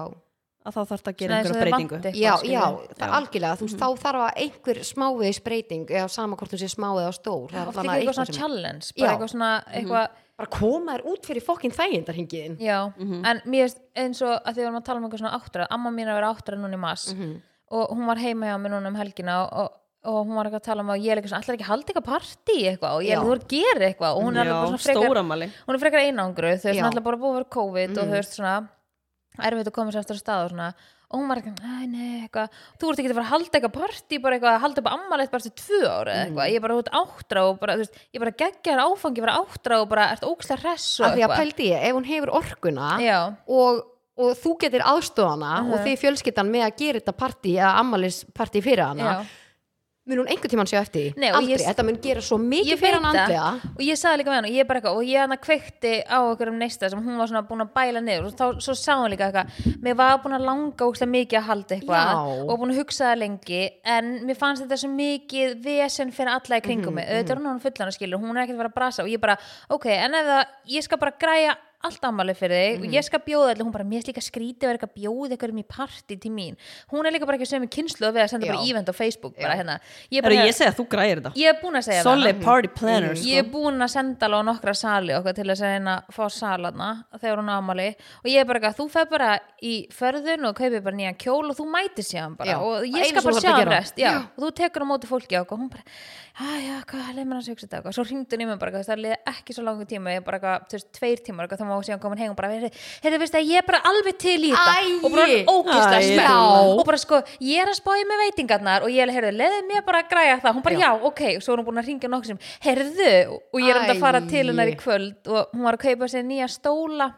að þá þarf það að Svona gera eins og einhverja þau breytingu vanti. já, eitthvað, Mhm. já, skilurðu. það er algjörlega þú veist, þá þarf að einhver smávegis breyting eða sama hvort þú sé smá eða stór það er Oft allan ekki eitthvað að eitthvað svona sem- challenge Bara Já. Mhm. eitthvað svona, eitthvað bara koma þér út fyrir fokkin þægindarhingiðin Já, Mhm. en mér finnst eins og að því við erum að tala um eitthvað svona áttara amma mín er að vera áttara núna í mass Mhm. og hún var heima hjá mér núna um helgina og, og, og hún var eitthvað að tala um að ég er eitthvað svona allar ekki að halda eitthvað partí eitthvað og ég er Já. eitthvað að gera eitthvað og hún er alveg bara já, svona frekar stóramali hún er frekar einangru þú veist, Já. Mhm. hún ætla bara að búa að vera COVID og þú veist svona erfitt að koma sér aftur að stað og svona og hún var eitthvað, næ, nei, eitthvað þú ert ekki að fara að halda eitthvað partí, bara eitthvað að halda upp ammalegt bara til tvö ára eða Mhm. eitthvað, ég er bara út áttra og bara, þú veist, ég bara geggja þér áfangi bara áttra og bara ert ókslega hress og af því að pældi ég, ef hún hefur orkuna Já, og, og þú getur aðstofana Mhm. og þið fjölskyldan með að gera þetta partí eða ammælispartí fyrir hana já. mun hún einhvern tímann sjá eftir því? Nei, og aldrei, ég- þetta mun gera svo mikið Ég veit fyrir hann það andlega og ég sagði líka með hann og ég bara eitthvað og ég hann að kveikti á okkur um neista sem hún var svona búin að bæla niður og þá svo sá hún líka eitthvað mér var búin að langa ógstlega mikið að halda eitthvað Já. og búin að hugsa það lengi en mér fannst þetta svo mikið vesen fyrir alla í Mhm, kringum mig auðvitað er hún hún fullan að skilur hún er ekkert að vera að brasa og ég bara ok en ef það ég skal bara græja allt ammali fyrir þig og Mhm. ég skal bjóða allir hún bara mér er líka skrítið að vera eitthvað að bjóða eitthvað um í partí til mín hún er líka bara ekki sömu kynslu við að senda bara Já. event á Facebook bara hérna ég, er Heru, bara, ég segi að þú græðir þetta ég er búin að segja það solid party planner sko. ég er búin að senda alveg á nokkra sali okkar til þess að reyna að fá salana þegar hún á ámali og ég er bara eitthvað, þú fer bara í förðun og kaupir bara nýjan kjól og þú mætir sér hann bara Já, og það ég eina skal sem þú bara þarft sjá að hann gera. rest já. og þú tekur á móti fólki á og hún bara, aðja, hvað, leið mér að hugsa þetta og svo hringdu hún í mig bara, eitthvað, það leið ekki svo langur tíma ég er bara, eitthvað, þú veist, tveir tímar eitthvað, þá má síðan komin heim og bara, heyrðu, heyrðu, veistu að ég er bara alveg til í þetta Æi. og bara ógislega Æi. spennt Já. og bara sko, ég er að spája með veitingarnar og ég er að, heyrðu, leiði mér bara að græja það hún bara, já, ok, svo er hún búin að ringja nokkuð sem heyrðu, og ég er enda að fara til hennar í Æi. kvöld og hún var að kaupa sér nýja stóla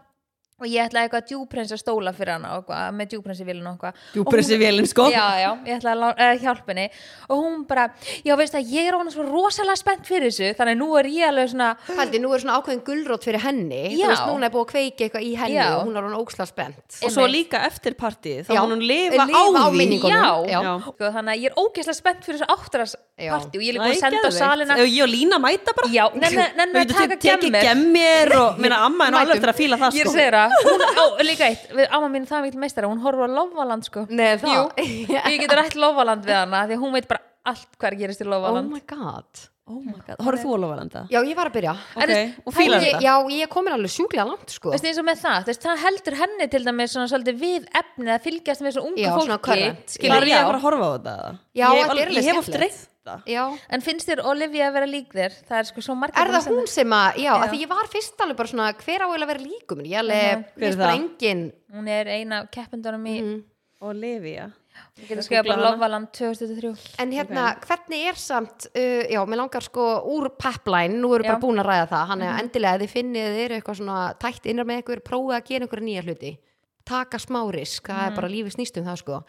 og ég ætlaði eitthvað djúprensa stóla fyrir hana og eitthvað, með djúprensi vilin og eitthvað Og hún- Djúprensi vélin, sko. já, já, ég ætlaði að lá- eh, hjálpa henni og hún bara, já veist að ég er ofan svo rosalega spennt fyrir þessu þannig að nú er ég alveg svona Haldi, nú er svona ákveðin gulrót fyrir henni Já. þú veist, núna er búið að kveiki eitthvað í henni Já. og hún er hún óksla spennt og svo líka eftir partíð þá Já. mun hún lifa, Lifa á á því minningunni. já, Já. Sko, þannig að ég er ógeðslega spennt fyrir þessu áttras Já. partí og ég er líka Æ, búin að senda á geðveikt. salina Ef ég og Lína mæta bara Já, nenni- nenni að Við getum taka tekið gemmur. gemmir og minna amma en alveg Mætum. eftir að fíla það ég er sko að segja það Hún á, líka eitt, við, amma mín er það mikil meistara hún horfur á Lofaland sko Nei, það- Jú, ég getur rætt Lofaland við hana því að hún veit bara allt hvað er að gerist í oh Lofaland my god Oh my god, horfðu þú á Lovalanda? já, ég var að byrja En þú Ok, veist, og fílar ég, þetta? já, ég er komin alveg sjúklega langt sko Þú veist eins og með það, þú veist, það heldur henni til dæmis svona svolítið við efnið að fylgjast með svona ungu Já, fólki svona current. skilur, Var ég já. að fara að horfa á þetta? eða? Já, Ég hef þetta er alveg- alveg Ég hef oft skemmtilegt. reynt það já. En finnst þér Olivia að vera lík þér? Það er sko svo margir er það sem- hún sem að, já, já. því ég var fyrst alveg bara svona hver á eiginlega að vera líkum ég alveg, Mhm. uh Hver er bara það? engin Hún er eina af keppendunum í, mm. Olivia ég getur skrifað bara Lofaland 2023 En hérna, hvernig er samt, uh, já, mér langar sko úr pepline, nú erum við Já. bara búin að ræða það, hann er endilega, ef þið finnið þið eru eitthvað svona tætt innar með ykkur, prófið að gera einhverja nýja hluti, taka smá risk, það er bara lífið snýst um það sko.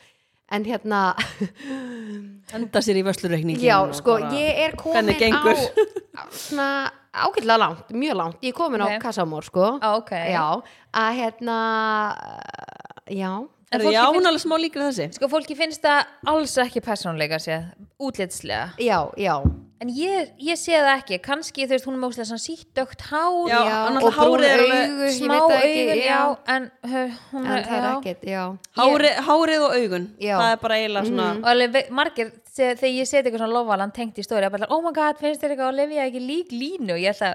En hérna, Henda sér í vörslureikningin já, og sko, bara- ég er komin Hvernig gengur? á, svona, ágætlega langt, mjög langt, ég er komin Ok. á kassamór sko. Á, ok. Já, að hérna, já, En Herru, fólki Já, hún finnst- er alveg smá líkir þessi Sko fólki finnst það alls ekki persónuleika séð, útlitslega já, já. En ég, ég sé það ekki, kannski þú veist hún er mjög svona sítt dögt hár Já, Já, annars og brún hárið er alveg augu, ég smá veit það ekki, augun, já. já. en hör, hún En það er já. ekkert, já. Hárið, hárið og augun Já. Það er bara eiginlega svona Og alveg ve- margir, se- þegar ég seti eitthvað svona lofalan tengt í stóri, að bara, oh my god, finnst þér eitthvað Olivia ekki lík línu, ég ætla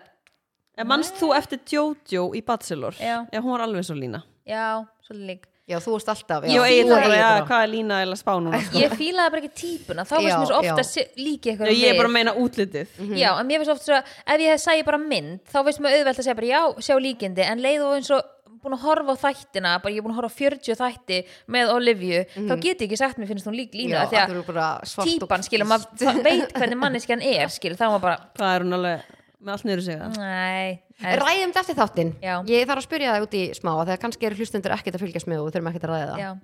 En manst þú eftir Jojo í Bachelor? Já. hún var alveg svo Lína já, svolítið lík Já, þú varst alltaf já. Ég og Þú eigin og bara, Egill já, bara. hvað er Lína eða spá núna? sko? Ég fílaði bara ekki típuna, þá Já, varst mér svo já. ofta se- líki eitthvað Já, Ég er bara meir. að meina útlitið Já, en mér finnst ofta svo að ef ég hef sagði bara mynd þá finnst mér auðvelt að segja bara já, sjá líkindi en leið og eins og búin að horfa á þættina bara ég er búin að horfa á 40 þætti með Olivia, þá get ég ekki sagt mér finnst hún lík lína Já, af því að þú eru bara að svart og típan, skilur, hvítt. maður það veit hvernig manneskjan er skilur, þá er maður bara, Hvað er hún alveg með allt niður Mm. sig Nei, er, Ræðum þetta eftir þáttinn Já. Ég þarf að spyrja það út í smá af því að kannski eru hlustundur ekkert að fylgjast með og við þurfum ekkert að ræða það já,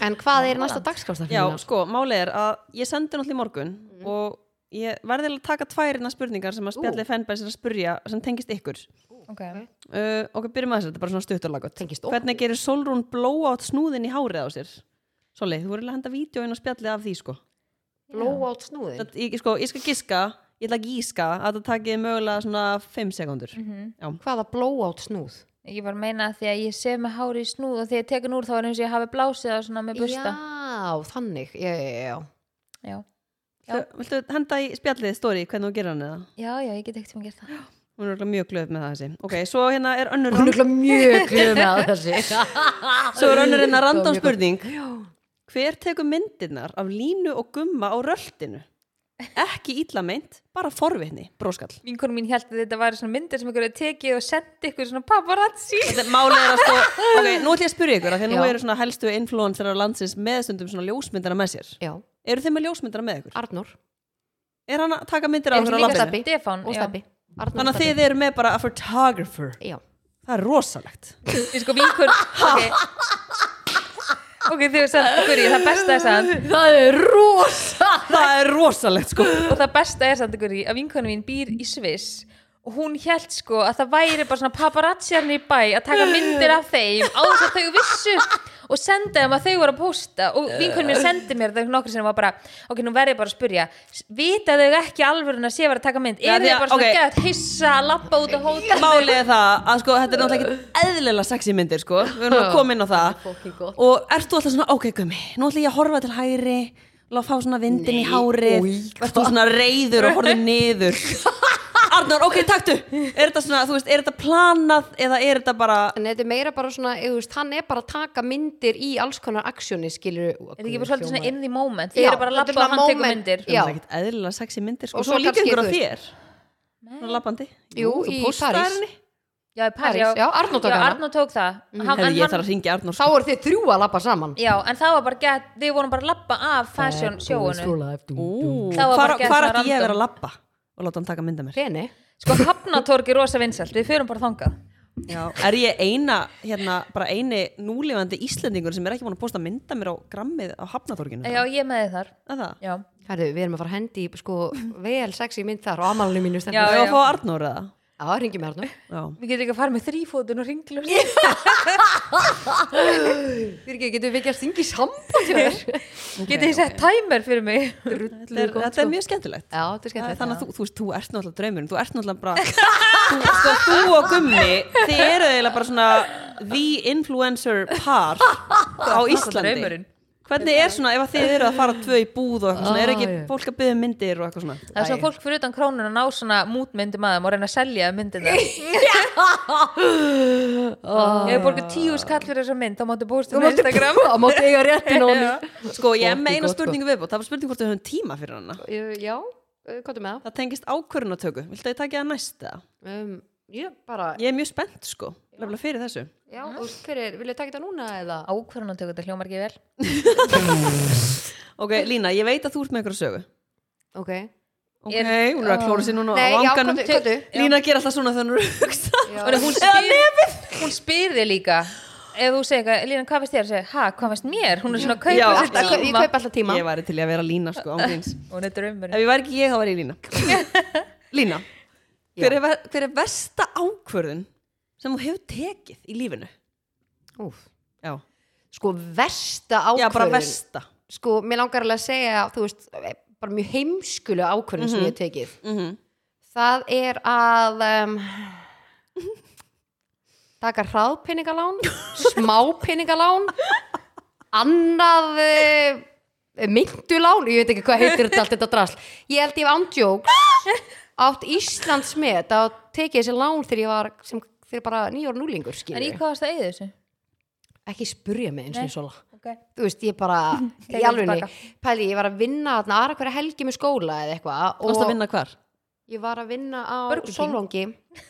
En hvað er næsta dagskrásta Já, sko, málið er að ég sendi náttúrulega í morgun og ég verði að taka tværina spurningar sem að spjallið fanbase er að spurja sem tengist ykkur ok uh, Ok, byrjum að þessu, þetta er bara svona stutturlagot Tengist okkur. Hvernig gerir Solrún blóátt snúðin í hárið á sér? Soli, þú voru að henda vídeo inn á spjallið af því, sko Blowout snúðin það, ég, sko, ég skal giska, ég ætla að gíska að það takið mögulega svona 5 sekundur Mhm, Hvaða blowout snúð? Ég var að meina að því að ég sef með hári í snúð og þegar ég tekin úr þá er eins og ég hafi blásið það svona með busta Já, þannig Já, já, já, já. Já, Þau- Viltu henda í spjallið story hvernig þú gerir hann eða? já, já ég get ekkert sem að gera það Hún er örugglega mjög glöð með það þessi Ok, svo hérna er önnur Hún er örugglega mjög glöð með þessi Svo er önnur hérna random mjög gott. spurning Hver tekur myndirnar af línu og gumma á röltinu? Ekki illa meint, bara forvitni, bróskall Vinkonum mín held að þetta væri svona myndir sem ykkur er tekið og sendi ykkur svona paparazzi Þetta er- Málið er að sko, ok, nú ætlum ég að spyrja ykkur af Því að nú Já. eru svona helstu influencer á landsins meðstundum svona ljósmyndina með sér Já, Eru þeim með ljósmyndina með ykkur? Arnór Er hann að taka myndir af Er ykkur á líka lampinu? Stebbi. Stefán, og já. Stebbi Arnór Þannig að þið eru með bara a photographer þið Já, Það er rosalegt Ég sko vinkun Ok, okay þau sendt ykkur í það besta er sann Það er rosa Það er rosalegt sko og það besta er samt ykkur í að vinkonu mín býr í Sviss og hún held sko að það væri bara svona paparazziarni í bæ að taka myndir af þeim á þess að þau vissu og senda þeim að þau voru að posta og vinkonu mín sendi mér það nokkur sem var bara ok, nú verð ég bara að spurja vita þau ekki alvöru að sé var að taka mynd Já, eru því þau að- bara svona ok. okay. gett hissa að lappa út á hóta Málið er það að sko, þetta er náttúrulega ekki eðlilega sexy myndir sko, við erum að koma inn á það Fucking gott. og ert þú alltaf svona, ok gummi, nú ætla ég að horfa til hæri og fá svona vindin í hárið verður þú svona reyður og horfður niður Arnur, ok, taktu er þetta svona, þú veist, er þetta planað eða er þetta bara En þetta er meira bara svona, ég veist, hann er bara að taka myndir í alls konar aksjóni, skilur er þið ekki bara svolítið svona in the moment þau Já, eru bara að þetta er lappa og svona hann tekur moment. myndir Já. Það er ekkert eðlilega sexy myndir sko, Og og svo svo líka kannski, ykkur á þú þér svona lappandi Jú, þú í póstaðir París. henni. já, í París, París, já, Arnór tók já, hana. Arnór tók það hann, Herri, en ég hann- þarf að ringja Arnur Þá eru þið þrjú að lappa saman já, en það var bara gett við vorum bara að lappa af fashion sjóunum Þá var bara Hvar gerð hvar svona ætti ég að random. vera að lappa og láta hann taka mynda mér? Reni, Sko hafnatorg er rosa vinsælt, við fyrum bara þangað Já, er ég eina, hérna, bara eini núlifandi Íslendingur sem er ekki búin að posta mynda mér á grammið á Hafnatorginu? Já, ég með þið þar Er það? Já, herðu, við erum að fara að hendi í, sko, vel sexy mynd þar á amalinu Já, mínu stendur Já, já. já. Fá Arnór eða? Já, ringi með Arnór Já. við getum ekki að fara með þrýfótun og ringljóð yeah. Fyrir ekki, getum við ekki að stingi samband hjá þér Já, Getið þið sett timer fyrir mig Þetta er, þetta er mjög skemmtilegt. þetta er Það er skemmt Þannig að þú, þú veist, þú ert náttúrulega draumurinn, þú ert náttúrulega bara, þú, sko, þú og Gummi, þið eru eiginlega bara svona the influencer par á Íslandi. draumurinn. Hvernig er svona, ef að þið eru að fara tvö í búð og eitthvað svona, er ekki Æ. fólk að byggja myndir og eitthvað svona? Það er svo fólk fyrir utan krónun að ná svona mútmyndum að þeim og reyna að selja myndina Ég hef borgað tíu skall fyrir þessa mynd, þá máttu bústu með Instagram Á mátt eiga réttin á honum. Sko, ég er með Gott, eina gott, gott. spurningu viðbútt, það var spurning hvort við höfum tíma fyrir hana. Ég- Já, hvað er með það? Það tengist ákvörunatöku. Viltu að ég taki það næst eða? Um, Ég bara, Ég er mjög spennt sko, lefnilega fyrir þessu. já, þú veist, hver er, vil ég taka þetta núna eða? Ákvörðan að tökja þetta hljómar ekki vel Ok, Lína, ég veit að þú ert með einhverja sögu. Ok Ok, Ég er- hún er að klóra sér núna Nei, á já, vanganum. komdu, komdu. Lína ger alltaf svona þegar hún er að hugsa. Já. Og hún spyr, hún spyr þig líka Ef þú segir eitthvað, Lína, hvað veist þér? Segir, ha, hvað veist mér? Hún er svona að Já, kaupa sér Alltaf, ég tíma kaup alltaf tíma Ég væri til í að vera Lína sko, ángríns. Hún er draumurinn Ef ég væri ekki ég, þá væri ég Lína. Lína, hver er, ver- hver er versta ákvörðun sem þú hefur tekið í lífinu? Úf. Já, Sko, versta ákvörðun já bara versta. Sko, mér langar alveg að segja, þú veist eh, bara mjög heimskulu ákvörðun Mhm. sem ég hef tekið Mm -hmm. Það er að um, taka hraðpenningalán smápenningalán annað uh, myndulán, ég veit ekki hvað heitir þetta allt þetta drasl, ég held ég ándjók átt Íslands með það tekið þessi lán þegar ég var sem, þegar bara nýjóra núlingur En í skilur hvað varst það eigið þessu? ekki spurja mig eins og Nei. ég sola Okay. þú veist, ég bara í Tekið alveg, tilbaka. pæli, ég var að vinna þarna aðra hverja helgi með skóla eða eitthvað Þú varst að vinna hvar? ég var að vinna á Burger King. Solongi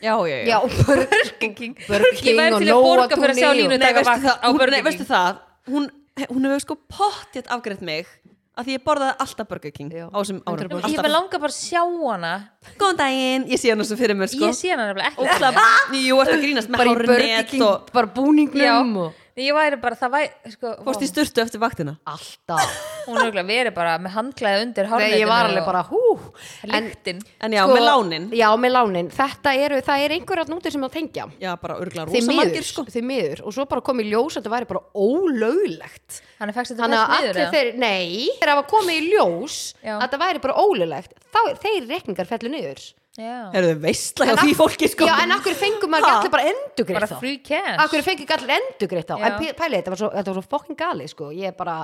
Já, já, já. já, Burger King Burger Ég væri King og til að borga fyrir að sjá Nóatúni Línu og... taka veistu vakt það, á hún, Burger nei, King. veistu það hún, hún hefur sko pottið afgreitt mig að því ég borðaði alltaf Burger King Já. á þessum 100%. árum Ég Alltaf. með langa bara að sjá hana góðan daginn, ég sé hann þessu fyrir mér sko Ég sé hana nefnilega ekki Ókslega- Jú, ertu að grínast með bara í hárið Burger net King, og bara búningnum Já. og Ég væri bara, það væri sko, fórst í vá, sturtu eftir vaktina alltaf Hún er örugglega verið bara með handklæði undir Nei, ég var alveg og- bara hú en, sko- Lyktin en já, með lánin já, með lánin, þetta eru, það er einhverjarn úti sem að tengja já, bara örgulega því rosa miður, margir sko því miður og svo bara kom í ljós að þetta væri bara ólöglegt Þannig fækst þetta þannig fælt að niður allir eða? þeir, nei þeir hafa komið í ljós Já. að þetta væri bara ólöglegt þá, þeir rekningar fellu niður Já, eru þau veistla hjá En því af- fólki sko já, en akkur fengum maður Ha? ekki allir bara endugreif bara þá free cash Akkur fengi ekki allir endugreitt á Já. En pí- pælið, þetta var svo, þetta var svo fokkin gali sko. Ég er bara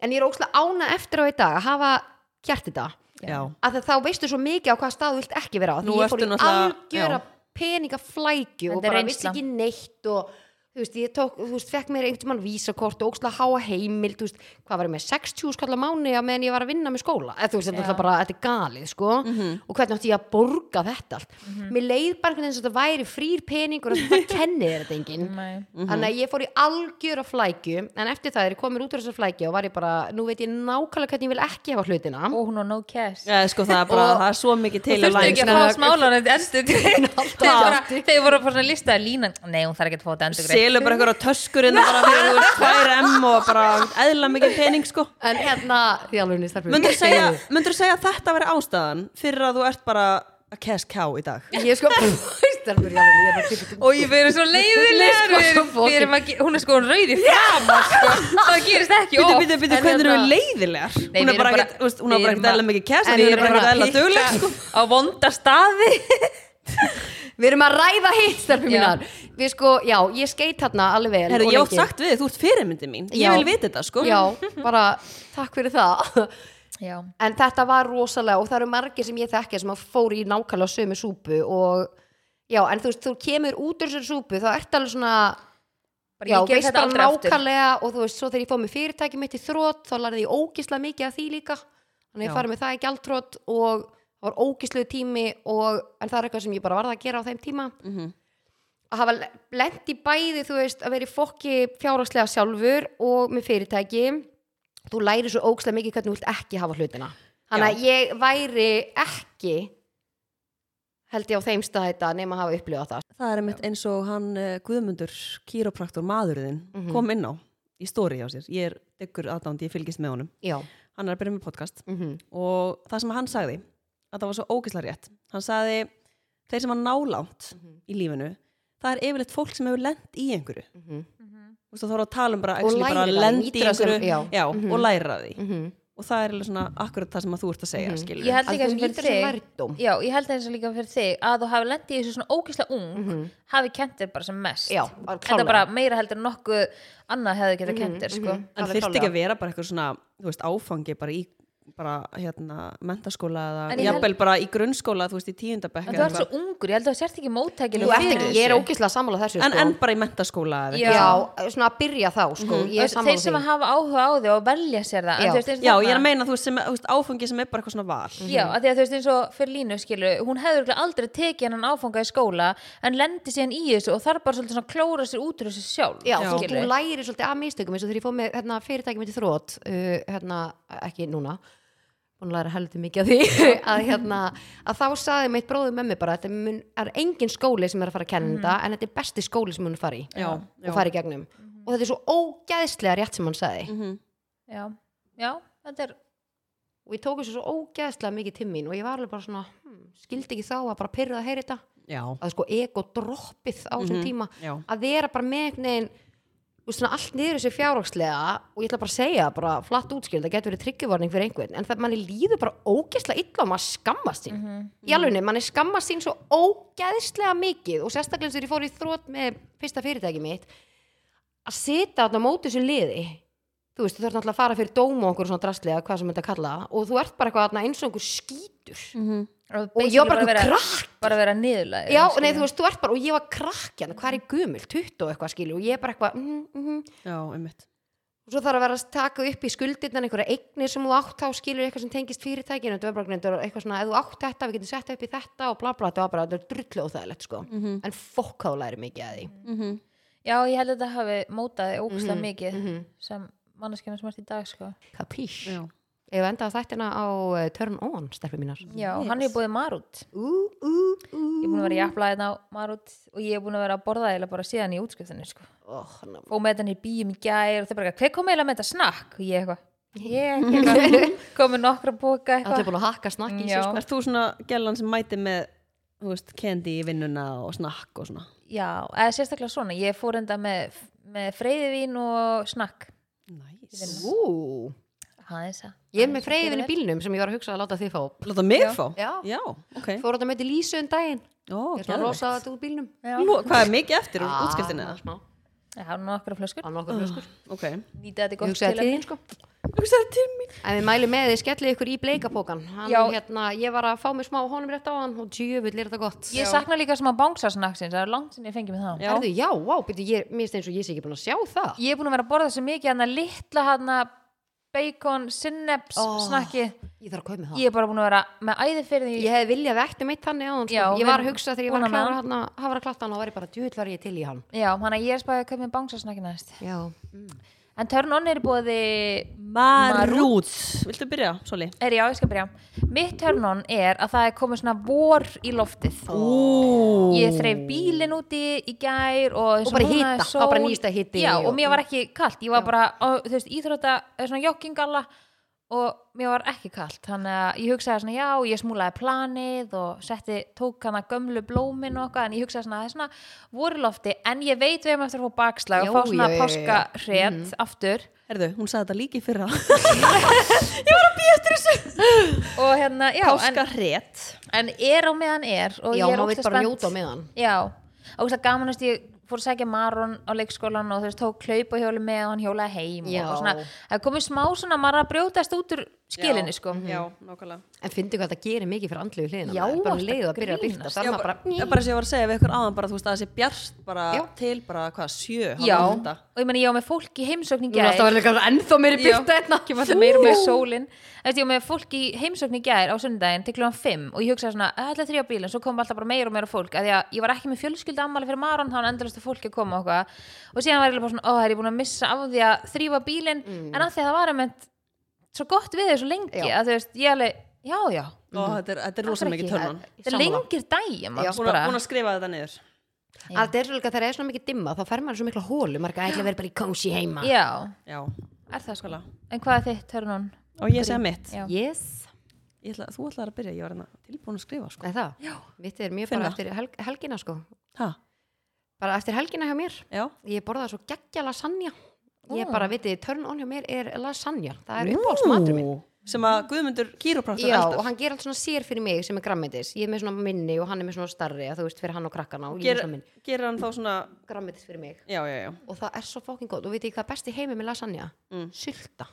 En ég er ókslega ána eftir á í dag að hafa gert þetta já, að þá veistu svo mikið á hvaða stað þú vilt ekki vera á Nú Því ég ertu fór í náttúrulega- algjöra já. peningaflækju og Þetta er bara vissi reynsla. ekki neitt og þú veist, ég tók, þú veist, fekk mér einhvern mann vísakort og ókslega háa heimild þú veist, hvað var ég með, 60 skall á mánu á meðan ég var að vinna með skóla eða þú veist, þetta Já. er bara, þetta er galið, sko og hvernig átti ég að borga þetta allt mér leið bara einhvern veginn eins og þetta væri frýr peningur og það kennir þér þetta enginn Nei. þannig að ég fór í algjöra flækju en eftir það er ég komin út úr þessar flækju og var ég bara, nú veit ég nákvæmlega hvernig ég vil ekki hafa hlutina Og hún á no cash já sko það er bara, Og- það er svo mikið til Þurftu ekki að fá smálan eftir endstu Þeir bara, þeir voru bara svona lista að lína Nei, hún þarf ekki að fá þetta endur sko. selur bara einhverja töskur innan bara fyrir þú veist 2M og bara eðla mikið pening sko en hérna, því alveg niður starfum myndur segja, myndirðu segja að þetta veri ástæðan fyrir að þú ert bara að cash cow í dag ég sko, starfum ég alveg ég er að klippa Og ég verið svo leiðilegar Nei, sko, svo við erum að ge- Hún er sko hún rauði framar sko. Það gerist ekki Býtu, oft. býtu, býtu, En hvernig eru hérna- við leiðilegar? Nei, við hún er erum bara ekkert, þú veist, hún er við bara erum ekkert eðla mikið kæs En en hún við er bara erum ekkert að eðla pikka- dugleg sko. á vonda staði við erum að ræða hitt starfum Já. mínar við sko, já, ég skeit hérna alveg vel Herri, og ég átt lengi. sagt við, þig, þú ert fyrirmyndi mín Já. Ég vil vita þetta, sko já, bara, takk fyrir það Já, en þetta var rosalega og það eru margir sem ég þekki sem að fóru í nákvæmlega sömu súpu og já, en þú veist, þú kemur út úr þessari súpu, þá ert alveg svona Bara, já, ég gerði veist þetta bara aldrei aftur nákvæmlega og þú veist, svo þegar ég fóð með fyrirtæki mitt í þrótt, þá lærði ég ógislega mikið af því líka, þannig að Já. ég farið með það í gjaldþrótt og það var ógislega tími og, en það er eitthvað sem ég bara varð að gera á þeim tíma Mhm. að hafa lent í bæði þú veist að vera í fokki fjárhagslega sjálfur og með fyrirtæki þú læri svo ógstlega mikið hvernig þú vilt ekki hafa hlutina þannig að ég væri ekki held ég á þeim stað þetta nema að hafa upplifað það Það er mitt eins og hann uh, Guðmundur, kýrópraktor maðurðinn Mhm. kom inn á, í stóri á sér Ég er ykkur aðdánd, ég fylgist með honum já, Hann er að byrja með podcast mm og það sem hann sagði að það var svo ógislega rétt Hann sagði, þeir sem var nálánt Mhm. í lífinu það er yfirleitt fólk sem hefur lent í einhverju Mhm. Þú veist, þá erum við að tala um bara, actually, bara læra, lent í nýtir það sem- einhverju já. Já, Mhm. og læra af því -hmm. og það er alveg svona akkurat það sem að þú ert að segja mm -hmm. Mhm. Ég held að líka þú sem fyrir nýtir þessu þig lærdóm Já, ég held eins og líka fyrir þig að þú hafi lendið í þessu svona ógeðslega ung hafi kent þér bara sem mest Mhm. Já, en bara það klárlega. Mhm, bara meira heldur en nokkuð annað hefði getað kent þér sko. en Alveg þurft klárlega. ekki að vera bara eitthvað svona þú veist, áfangi bara í bara hérna, mentaskóla En eða ég held- jafnvel bara í grunnskóla þú veist, í tíundabekk En þú ert svo ungur, ég held að þú sért ekki móttækileg Þú ert fyrir ekki, þessu. ég er ógislega sammála þessu en, sko. en bara í mentaskóla eða Já. eitthvað. já, svona að byrja þá sko. ég er Þú veist, sammála þeir sem því hafa áhuga á þig og velja sér það en Já. þú veist, eins og já, þarna- Mhm. ég er að meina þú veist, sem, þú veist, áfangi sem er bara eitthvað svona val Já, af því að þú veist eins og fyrir línu skilu hún hefur örugglega aldrei tekið hennan áfanga í skóla en lendi síðan í þessu og þarf bara svolítið svona að klóra sér út úr þessu sjálf Já, Já. þú, þú skilurðu. lærir svolítið af mistökum eins og þegar ég fóð með hérna, fyrirtæki mitt í þrótt uh, hérna, ekki núna búin að læra heldur mikið af því að, hérna, að þá sagði mitt bróður með mig bara þetta mun, er engin skóli sem er að fara að kenna þetta en þetta er besti skóli sem hún er fara í Mhm. Já, Mhm. já. og fara í gegnum og þetta er svo ógæðslega rétt sem hann sagði Mhm. Já, já, þetta er og ég tók þessu svo ógæðslega mikið til mín og ég var alveg bara svona hm, skildi ekki þá að bara pyrra að heyra þetta já, að sko ego droppið á þessum Mhm. tíma já, að vera bara með einhvern veginn þú veist, svona, allt niður þessu fjárhagslega og ég ætla bara að segja það bara flatt útskýrð það getur verið tryggjuvarning fyrir einhvern en það manni líður bara ógeðslega illa og maður skammast sín í alveg, manni skammast sín svo ógeðslega mikið og sérstaklega eins og þegar ég fór í þrótt með fyrsta fyrirtæki mitt að sita þarna á móti þessu liði þú veist, þú þarf náttúrulega að fara fyrir dóma okkur svona drastlega, hvað sem þetta kalla það, og þú ert bara eitthvað þarna eins og einhver skítur Mm. og og ég var bara basically eitthvað vera, krakk bara vera niðurlega Já, nei, þú veist, þú ert bara, og ég var krakkjan, hvað er ég gumul, 20 og eitthvað skilju, og ég er bara eitthvað, mm, mm, já, einmitt og svo þarf að vera að taka upp í skuldirnar einhverja eignir sem þú átt þá skilur eitthvað sem tengist fyrirtækinu, þetta var bara þetta var eitthvað svona, ef þú átt þetta, við getum sett það upp í þetta og bla bla, þetta var bara, þetta er drullu óþægilegt sko, en fokk þá læri mikið að því. já, ég held að þetta hafi mótaði ógustlega mikið mhm. sem manneskjana sem ert í dag sko. Kapís? já. Ég enda á þættina á eh, Turn On, stelpur mínar. Já, hann er búið marút Ú, ú, ú. Ég er búin að vera í aflaðið á marút og ég er búin að vera að borða eða bara síðan í útskriftinu sko. Ó, ná. og með þetta hann í bíum í gær og þeir bara, eitthvað, hver kom eiginlega með þetta snakk? Og ég eitthvað, ég eitthvað komið nokkra bóka Allir eitthvað búin að hakka snakki í Já. sig, sko. Erst þú svona gellan sem mæti með þú veist, candy í vinnuna og snakk og svona Já, eða sérstaklega svona, ég fór enda með, með freyðivín og snakk nice. Ú, aðeins að ég er með freyðin í bílnum sem ég var að hugsa að láta þið fá. Láta mig fá? Já. Já, ok Fór þetta með til Lísu um daginn. Ég Ó, er svona að geðveikt. rosa þetta úr bílnum. Já, Lú, Hvað er mikið eftir úr Ah, útskiptinu? það er smá. ég hafði nokkra flöskur Á nokkur flöskur. Ok nýta þetta í sko. gott Ég til hugsaði að tíðin, sko. Hugsaði til mín En við mælum með því skellið ykkur í bleikapókan. Hann, Já. hérna, ég var að fá mér smá honum rétt á hann og djöfull er þetta gott. Ég sakna líka sem að bángsa snakksins, það er langt sem ég fengið mig það Já. Herðu, já, vá, byrju, ég, mér finnst eins og ég sé ekki búin að sjá það. Ég er búin að vera að borða svo mikið hann að litla hann að bacon, synneps Ó. snakki, Ég þarf að kaupa með það. ég er bara búin að vera með æði fyrir því Ég, hef viljað vektum eitt þannig á hann. Sko. Já, ég við var að erum hugsa þegar ég var búin að að klára ná. hérna, hann að hafa að klappa hann og var ég bara, djöfull var ég til í hann. Já, hann að ég er spæði að köpa mér bángsa snakki næst Já. En törn on er búið Marút Viltu byrja, Soli? Er já, ég skal byrja Mitt törn on er að það er komið svona vor í loftið Ú Ég þreif bílinn úti í gær og, eins Og bara núna er hita, sól. það var bara nýsta hiti Já, og- og mér var ekki kalt, ég var bara á, þú veist, íþrótta, eh, svona joggingalla og mér var ekki kalt þannig að ég hugsaði svona, já, ég smúlaði planið og setti, tók hana gömlu blómin og okkar, en ég hugsaði svona það er svona vorlofti, en ég veit við erum eftir að fá bakslag Já, og fá svona já, Mhm. já, já. páskahrét aftur Herðu, hún sagði þetta líki fyrra og hérna, já, en, Páskarét en er á meðan er og ég Já, er maður vil ókslega bara spennt. njóta á meðan. Já, og það gaman að ég fór að segja Maron á leikskólan og þú veist, tók hlaupahjóli með og hann hjólaði heim Já. og svona, það er komið smá svona maður er að brjótast út úr skilinni sko Mhm. Já, nákvæmlega En finndu hvað það gerir mikið fyrir andlegu hliðina. Já, maður. bara um ertu leiðu að byrja að grínast? byrta. Það Já, er maður bara, bara, ég bara sem ég var að segja við ykkur áðan bara, þú veist, að það sé bjart bara Já. til bara, hvað, sjö Já, hálf átta. og ég meni ég á með fólk í heimsókn í Núna gær alltaf verður líka ennþá meiri hérna. Já. byrta einna. kemur alltaf meira með sólin Þessi, ég var með fólk í heimsókn í gær á sundaginn til kljóðan 5 og ég hugsaði svona ætla þrjá bílinn, svo kom alltaf bara meira og meira fólk af því að ég var ekki með fjölskylda ammali fyrir maran þá hann endalastu fólk að koma og eitthvað. og síðan var ég bara svona, ó, það er ég búin að missa af því að þrýfa bílinn, en að því að það var einmitt svo gott við þau svo lengi Mm. Já. að þú veist, ég alveg, já, já og þetta er, þetta er Af rosa hverju mikið ekki? törnun þetta er Sammála. lengir dægjum Já, hún er að skrifa þetta niður Það er svolítið að það er svona mikið dimma, þá fer maður í svo mikla hólu, maður er ekki að vera bara í kósi heima. já, já, er það sko skala en hvað er þitt, hörnun? og ég segja mitt Já. Yes. Ég ætla, þú ætlaði að byrja, ég var hérna tilbúin að skrifa sko. Er það? Já. Mitt er mjög Finna. bara eftir helg, helgina, sko. ha, Bara eftir helgina hjá mér. já, Ég borðaði svo geggja lasagna. Ég Ó. bara, vitið, törn on hjá mér er lasagna. Það er uppáhaldsmatur minn. sem að Guðmundur kýrópraktur Já, og hann ger allt svona sér fyrir mig sem er grammetis. Ég er með svona minni og hann er með svona starri, að þú veist, fyrir hann og krakkana og ég er gerir svona minn. gerir hann þá svona Grammetis fyrir mig. já, já, já, Og það er svo fókin gott. Og vitið, hvað er besti heimi með lasagna? Mm. Sulta.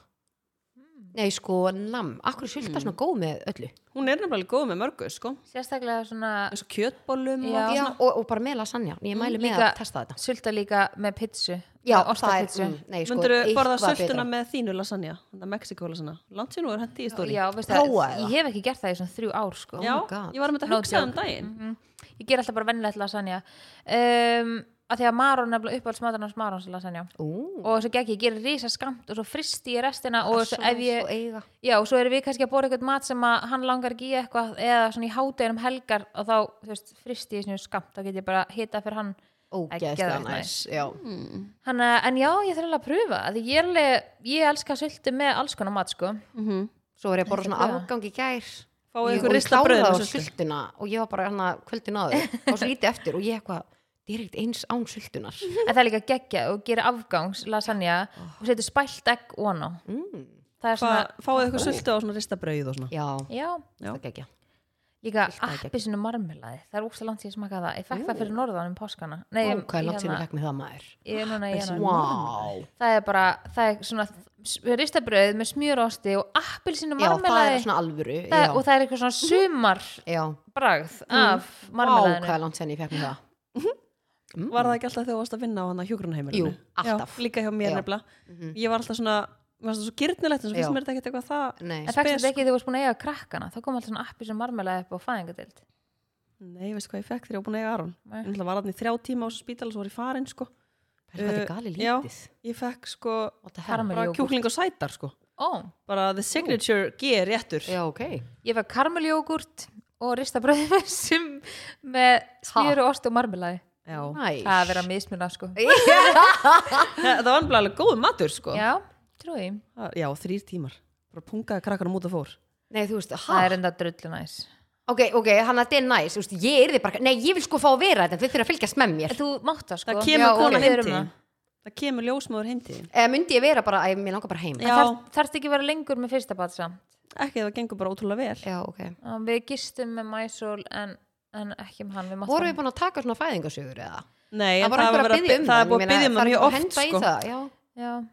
Nei, sko, nam. Akkur er sulta svona góð með öllu. hún er nefnilega góð með mörgu sko. sérstaklega svona eins og kjötbólum Já. Mm, og Já, og, og bara með lasagna. Ég mælu með Líka- að testa þetta. sulta líka með pitsu ostapitsu mm, nei, sko, myndur þú borða eitthvað sultuna betra. með þínu lasagna Mexiko lasagna, langt sér nú er hendi í stóri Já, veistu Prófa það, það. ég hef ekki gert það í svona þrjú ár sko. já Oh my God. ég var með þetta að No hugsa joke. um daginn Mhm. Ég ger alltaf bara vennilegt lasagna um, að því að Maron nefnilega uppáhalds matarnas Marons lasagna Ú, Ah, og svo gekk ég, ég gerir risa skamt og svo fristi ég restina og svo ef svo ég eiga. já, og svo erum við kannski að bóra eitthvað mat sem að hann langar ekki í eitthvað eða svona í hátuginum helgar og þá, þú veist, fristi ég svona skamt þá get ég bara hita fyrir hann Ógeðslega Geðveikt næs, já. hann, eh, en já, ég þarf alveg að pröfa að ég, er alveg, ég elska sultu með alls konar mat sko. Svo var ég að borða svona Þetta er það. afgang í gær. fáið Mhm. Ég- ykkur og ég rista bröð kláraði með á sultu. sultuna og ég var bara hérna kvöldin áður og svo lítið eftir og ég eitthvað, það er ekkert eins án sultunar. en það er líka geggja og gerir afgangs lasagna Oh. og setur spælt egg on á Mm. það er svona, Fa- fáið ykkur sultu á svona rista brauð og svona Já, já Já. það gekkja. Líka það ekki. appisinu marmelaði, það er úkst langt sér smaka það. Ég fekk það fyrir norðan um páskana. Nei, Ó, ég- hvað er langt sinni hérna- fekk með það maður? Ég er núna í Vá. janúar. Það er bara, það er svona ristabröð með smjörosti og appisinu Já, það marmelaði er svona alvöru. Það- já. og það er eitthvað svona sumar Já, bragð af vá, hvað marmelaðinu. er langt sinni ég fekk með það. Var það ekki alltaf þegar þú varst að vinna á hann að hjúgrunheimilinu? Mm. Jú, alltaf. Já, líka hjá mér Já. Mhm. nefnilega. Ég var alltaf svona, mér varst það svo gyrnilegt en svo Já. finnst mér þetta ekkert eitthvað það. Nei. En fækst þetta spes- ekki þegar þú varst búin að eiga krakkana, þá kom alltaf svona appisinu marmelaði upp á fæðingadild. Nei, veistu hvað ég fekk þegar ég var búin að eiga Aron? Nei. Ég ætla var hann í þrjá tíma á þessu spítal og svo var ég farin sko. Hvað er Uh, gali já. lítið? Ég fekk sko What the hell? Karamell bara jógúrt. kjúkling og sætar sko. Ó, bara the signature G réttur Já, ok. ég fæ karmeljógurt og rista bröðmessum með smjöru, ost og marmelaði. Já. Það er Næs. að vera mismuna, sko. það var alveg alveg góð matur sko Já, trúi. ég. Það- já þrýr tímar, bara pungaði krakkanum út að fór Nei, þú veist, Það er hæ? enda drullu næs. Ok, ok, hann að þetta er næs. Þú veist, ég er þið bara, nei, ég vil sko fá að vera þetta, þau þurfa að fylgjast með mér. En Þú mátt það, sko. það kemur ok. kona Við heim erum til þín. það. það kemur ljósmóður heim til þín. Eða myndi ég vera bara, æ, mér langar bara heim. Já, Þarft- Þarft ekki að vera lengur með fyrsta bat samt. ekki það gengur bara ótrúlega vel Já, ok. Um, Við gistum með Mæsól en, en ekki með hann. Við máttum Voru við búin að taka svona fæðingasögur eða? Nei, Það en var það, einhver að var verið byggja að- um það er ég búið að meina, byggja um það það er einhver mjög að oft henda í sko. það, já. Já.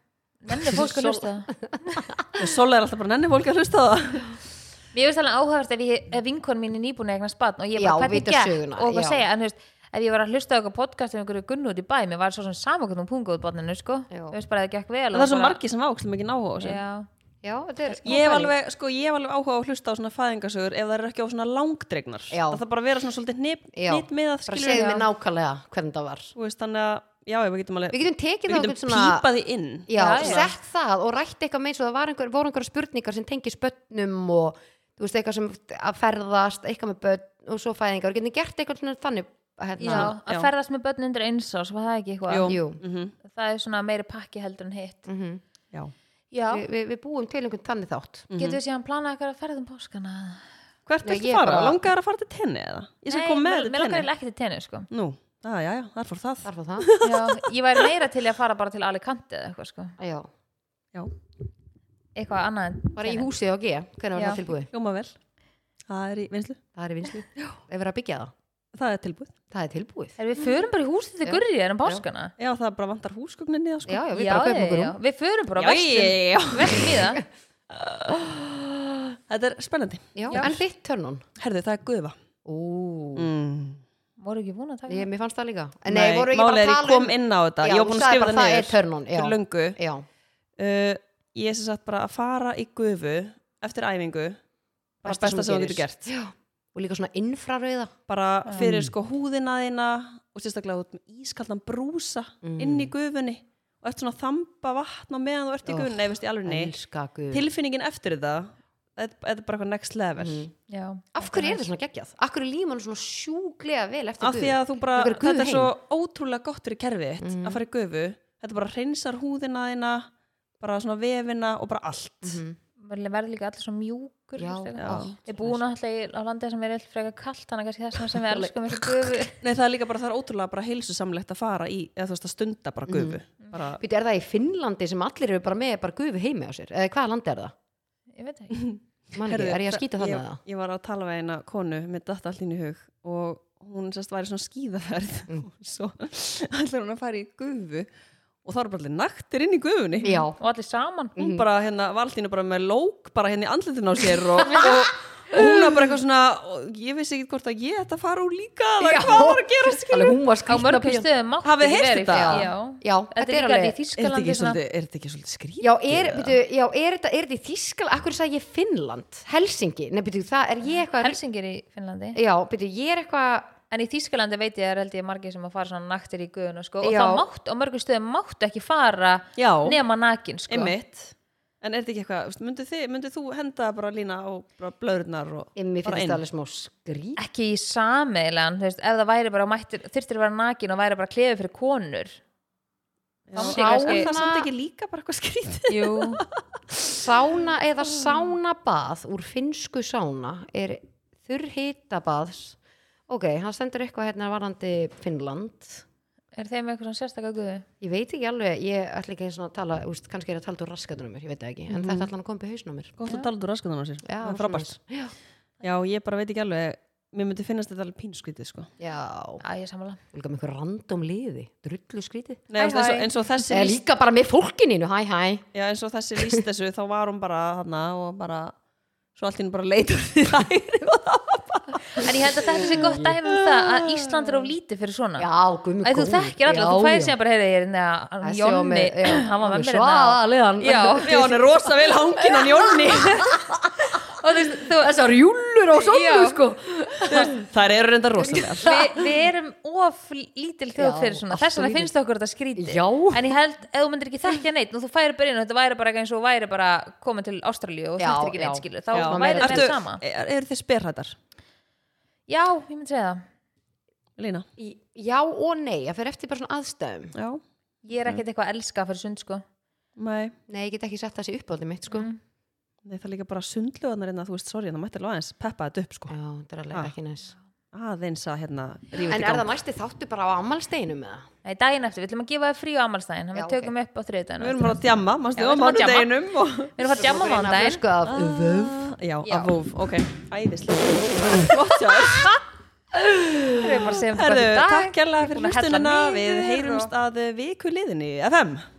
Nenni fólk að hlusta það. Sola er alltaf bara nenni fólk að hlusta á það Mér finnst alveg áhugavert ef, ég- ef vinkon mín er nýbúin að eignast batn og ég Já, bara hvernig vita gekk söguna, og hvað já. segja, en þú veist, ef ég var að hlusta á eitthvað podcast um einhverju gunnu út í bæ, mér var svo sem saman hvernig hún punga út batninu, sko. Já. Þú veist bara að það gekk vel. og Það er svo bara- margi sem ákslega mikið náhuga á þessu Já, Já, þetta er Ég hef alveg, sko, ég hef alveg áhuga á að hlusta á svona fæðingasögur ef það eru ekki á svona langdregnar. Já. Það þarf bara að vera svona svolítið hnip, Já. hnip með að Bara skilja segðu mér nákvæmlega hvernig það var. Þú veist, þannig að, já, já, við getum alveg, Við getum tekið við það getum okkur svona- pípað því inn. Já, Já, já. sett það og rætt eitthvað meins og það var einhver, voru einhverja spurningar sem tengi spönnum og þú veist, eitthvað sem að ferðast, eitthvað með bönn og svo fæðingar og getum gert eitthvað svona þannig já, hérna. að Já. ferðast með börn undir eins ás, var það ekki eitthvað? Jú. Jú, Mhm. Það er svona meiri pakki heldur en hitt. mm Já. Já, við vi, vi búum til einhvern þannig þátt. getur við Mhm. síðan planað eitthvað að ferðum páskana? Hvert Nei, viltu ég fara? bara- Langar að fara til tenni eða? Ég skal koma með mér- mér þetta langar tenni. eiginlega ekki til tenni, sko. Nú, já, já, já, þar fór það. Þarf að það? Já, ég væri meira til í að fara bara til Alicante eða eitthvað, sko. Já, Já, Eitthvað annað en bara í tennis. húsið og G, hvernig var Já. það tilbúið? hljóma vel. Það er í vinslu. Það er í vinslu. Ef við að byggja það, Það er tilbúið. það er tilbúið. Herra, Við förum bara í húsið til Já. gurrið erum páskana. Já, það bara vantar húsgögninni það, sko. Já, já, Já, við bara já, kaupum okkur já. um. Við förum bara Já, vestum, já, já. vestum í það. Þetta er spennandi. Já, en þitt törnun? Herðu, það er gufa. Ú, Mm. Voru ekki búin að taka ég, það? mér fannst það líka. En nei, voru ekki málið bara er að ég tala kom um... inn á þetta, Já, ég var búin þú að sagðir skrifa bara, það það niður er turn-on, já. fyrir löngu Já, uh, ég er sem sagt bara að fara í gufu eftir æfingu bara besta sem þú getur gert Já, og líka svona infrarauða. bara fyrir sko húðina þína og sérstaklega út með ískaldan brúsa Mm. inn í gufunni og eftir svona að þamba vatn á meðan þú ert í Oh, gufunni, nei, veist, í alveg Elska guð. tilfinningin eftir þetta þetta þetta er bara eitthvað next level Já. Af hverju er þetta svona geggjað? Af hverju líður mann svona sjúklega vel eftir af því að þú bara, Þetta er guð þetta er svo heim. Mm. ótrúlega gott fyrir kerfið þitt að fara í gufu, þetta bara hreinsar húðina þína, bara svona vefina og bara allt Mm. Mhm. Verður verður líka allir svo mjúkur. Já, veistu, já. eitthvað. Við búum náttúrulega í- á landið sem er eitthvað frekar kallt, þannig að kannski þess vegna sem við elskum þessu gufu. Nei, það er líka bara, það er ótrúlega bara heilsusamlegt að fara í, eða þú veist, að stunda Mm. bara gufu. Bara, Býtu, er það í Finnlandi sem allir eru bara með bara gufu heimi á sér? Eða hvaða land er það? Ég veit ekki. Man ekki, er ég að skýta þannig ég, að það? Ég var að tala við eina konu með datta allt inn í hug og hún sérst væri svona skíðaferð Mm. og svo ætlar hún að fara í gufu og það eru bara allir naktir inn í gufunni. Já, Og allir saman. Hún Mhm. bara, hérna, var allt í einu bara með lók bara hérna í andlutinu á sér og, og, og hún var bara eitthvað svona, og ég vissi ekki hvort að ég ætti að fara úr líka eða Já. hvað var að gera skil. alveg hún var Á skrýtna mörgum pían- stöðum mátti Hafið ekki heyrt vera í- þetta? Já. Já, Þetta er líka alveg í Er þetta Þískalandi. ekki svolítið, er þetta ekki svolítið skrítið? Já, er, eða? býtu, já, er þetta, er þetta í Þískal? Akkur sagði ég Finnland? Helsingi? Nei, býtu, það er ég eitthvað... Helsingir í Finnlandi. Já, býtu, ég er eitthvað... En í Þýskalandi veit ég að er held ég margir sem að fara svona naktir í guðun og sko og Já. það mátt, á mörgum stöðum máttu ekki fara Já. nema nakin sko. Einmitt. En er þetta ekki eitthvað, veist, myndir, þið, myndir þú henda bara lína á bara blöðurnar og Mér bara finnst það alveg smá skrýt. Ekki í sameilan, þú veist, ef það væri bara mættir, þurftir að vera nakin og væri bara klefið fyrir konur. Já, myndi ég sko. sána- kannski- Er það samt ekki líka bara eitthvað skrítið? Jú. Sána eða sánabað úr finnsku sána er þurrhitabaðs ok, hann sendur eitthvað hérna varandi Finnland er þeim eitthvað svona sérstakka guðu? ég veit ekki alveg, ég ætla ekki eins og að tala úst, kannski er ég að tala úr raskatunum mér, ég veit það ekki Mhm. en þetta ætla hann að koma upp í hausnum mér sko. Gótt að tala út úr raskunum á sér. Já, það er frábært. svoleiðis. Já. Já, ég bara veit ekki alveg, mér myndi finnast þetta alveg pínskrítið, sko. Já, Æ, ég sammála. líka með einhver random liði drullu skrítið Nei, Hæ, hæ, eins, og, hæ. eins, og þessi eða líst, líka bara með fólkininu, hæ hæ já, eins og þessi líst þessu, þá var hún bara hana og bara, svo allt hinn bara leitur því þær. En ég held að þetta sé gott dæmi um það að Ísland er of lítið fyrir svona. já, gumi Æ, þú þekkir allir, þú fæðir síðan bara, heyrði, ég er inn að Þessi var Jónni, með- já, hann var með mér hérna. svaliðan Já. Já, hann er rosa vel hangin á njónni. Og þú veist, þú- þessar júllur á Já. sónu sko þær eru reynda rosa vel. við, við erum of lítil þjóð Já, fyrir svona allt þess of vegna lítil. finnst okkur þetta skrítið Já. en ég held, ef þú myndir ekki þekkja neitt og þú færi bara inn og þetta væri bara eins og væri bara komin til Ástralíu og Já, þekktir ekki neitt já. skilu þá Já, væri meira- þetta Ertu, enn sama er, eru þið spyrhættar? já, ég myndi segja það Lína? Í- Já og nei, það fer eftir bara svona aðstæðum Já, ég er ekkert eitthvað að elska fyrir sund sko nei, Nei, ég get ekki sett það sér uppáldið mitt sko Mm. nei það er líka bara sundlugarnar innan, þú veist, sorry, það mætti alveg aðeins peppa þetta upp, sko. Já, það er alveg Ah. ekki næs Aðeins að hérna rífa En þetta í er það gang. næsti þáttu bara á ammalsteinu með það? Nei, daginn eftir, við ætlum að gefa þér frí á amalstæðin Já, við ok. tökum upp á þriðdæðin Við erum bara að djamma, Já, mannstu, við á erum að djamma. mánudeinum og... við erum að jamma mándaginn Sko af vöf Já, Já. að vúf, ok, æðislega Gott hjá þér við erum bara að segja um hvað Herðu, þetta er í dag. takk kærlega Ég er fyrir búin að hella hlustunina Við niður og- heyrumst að viku liðinni FM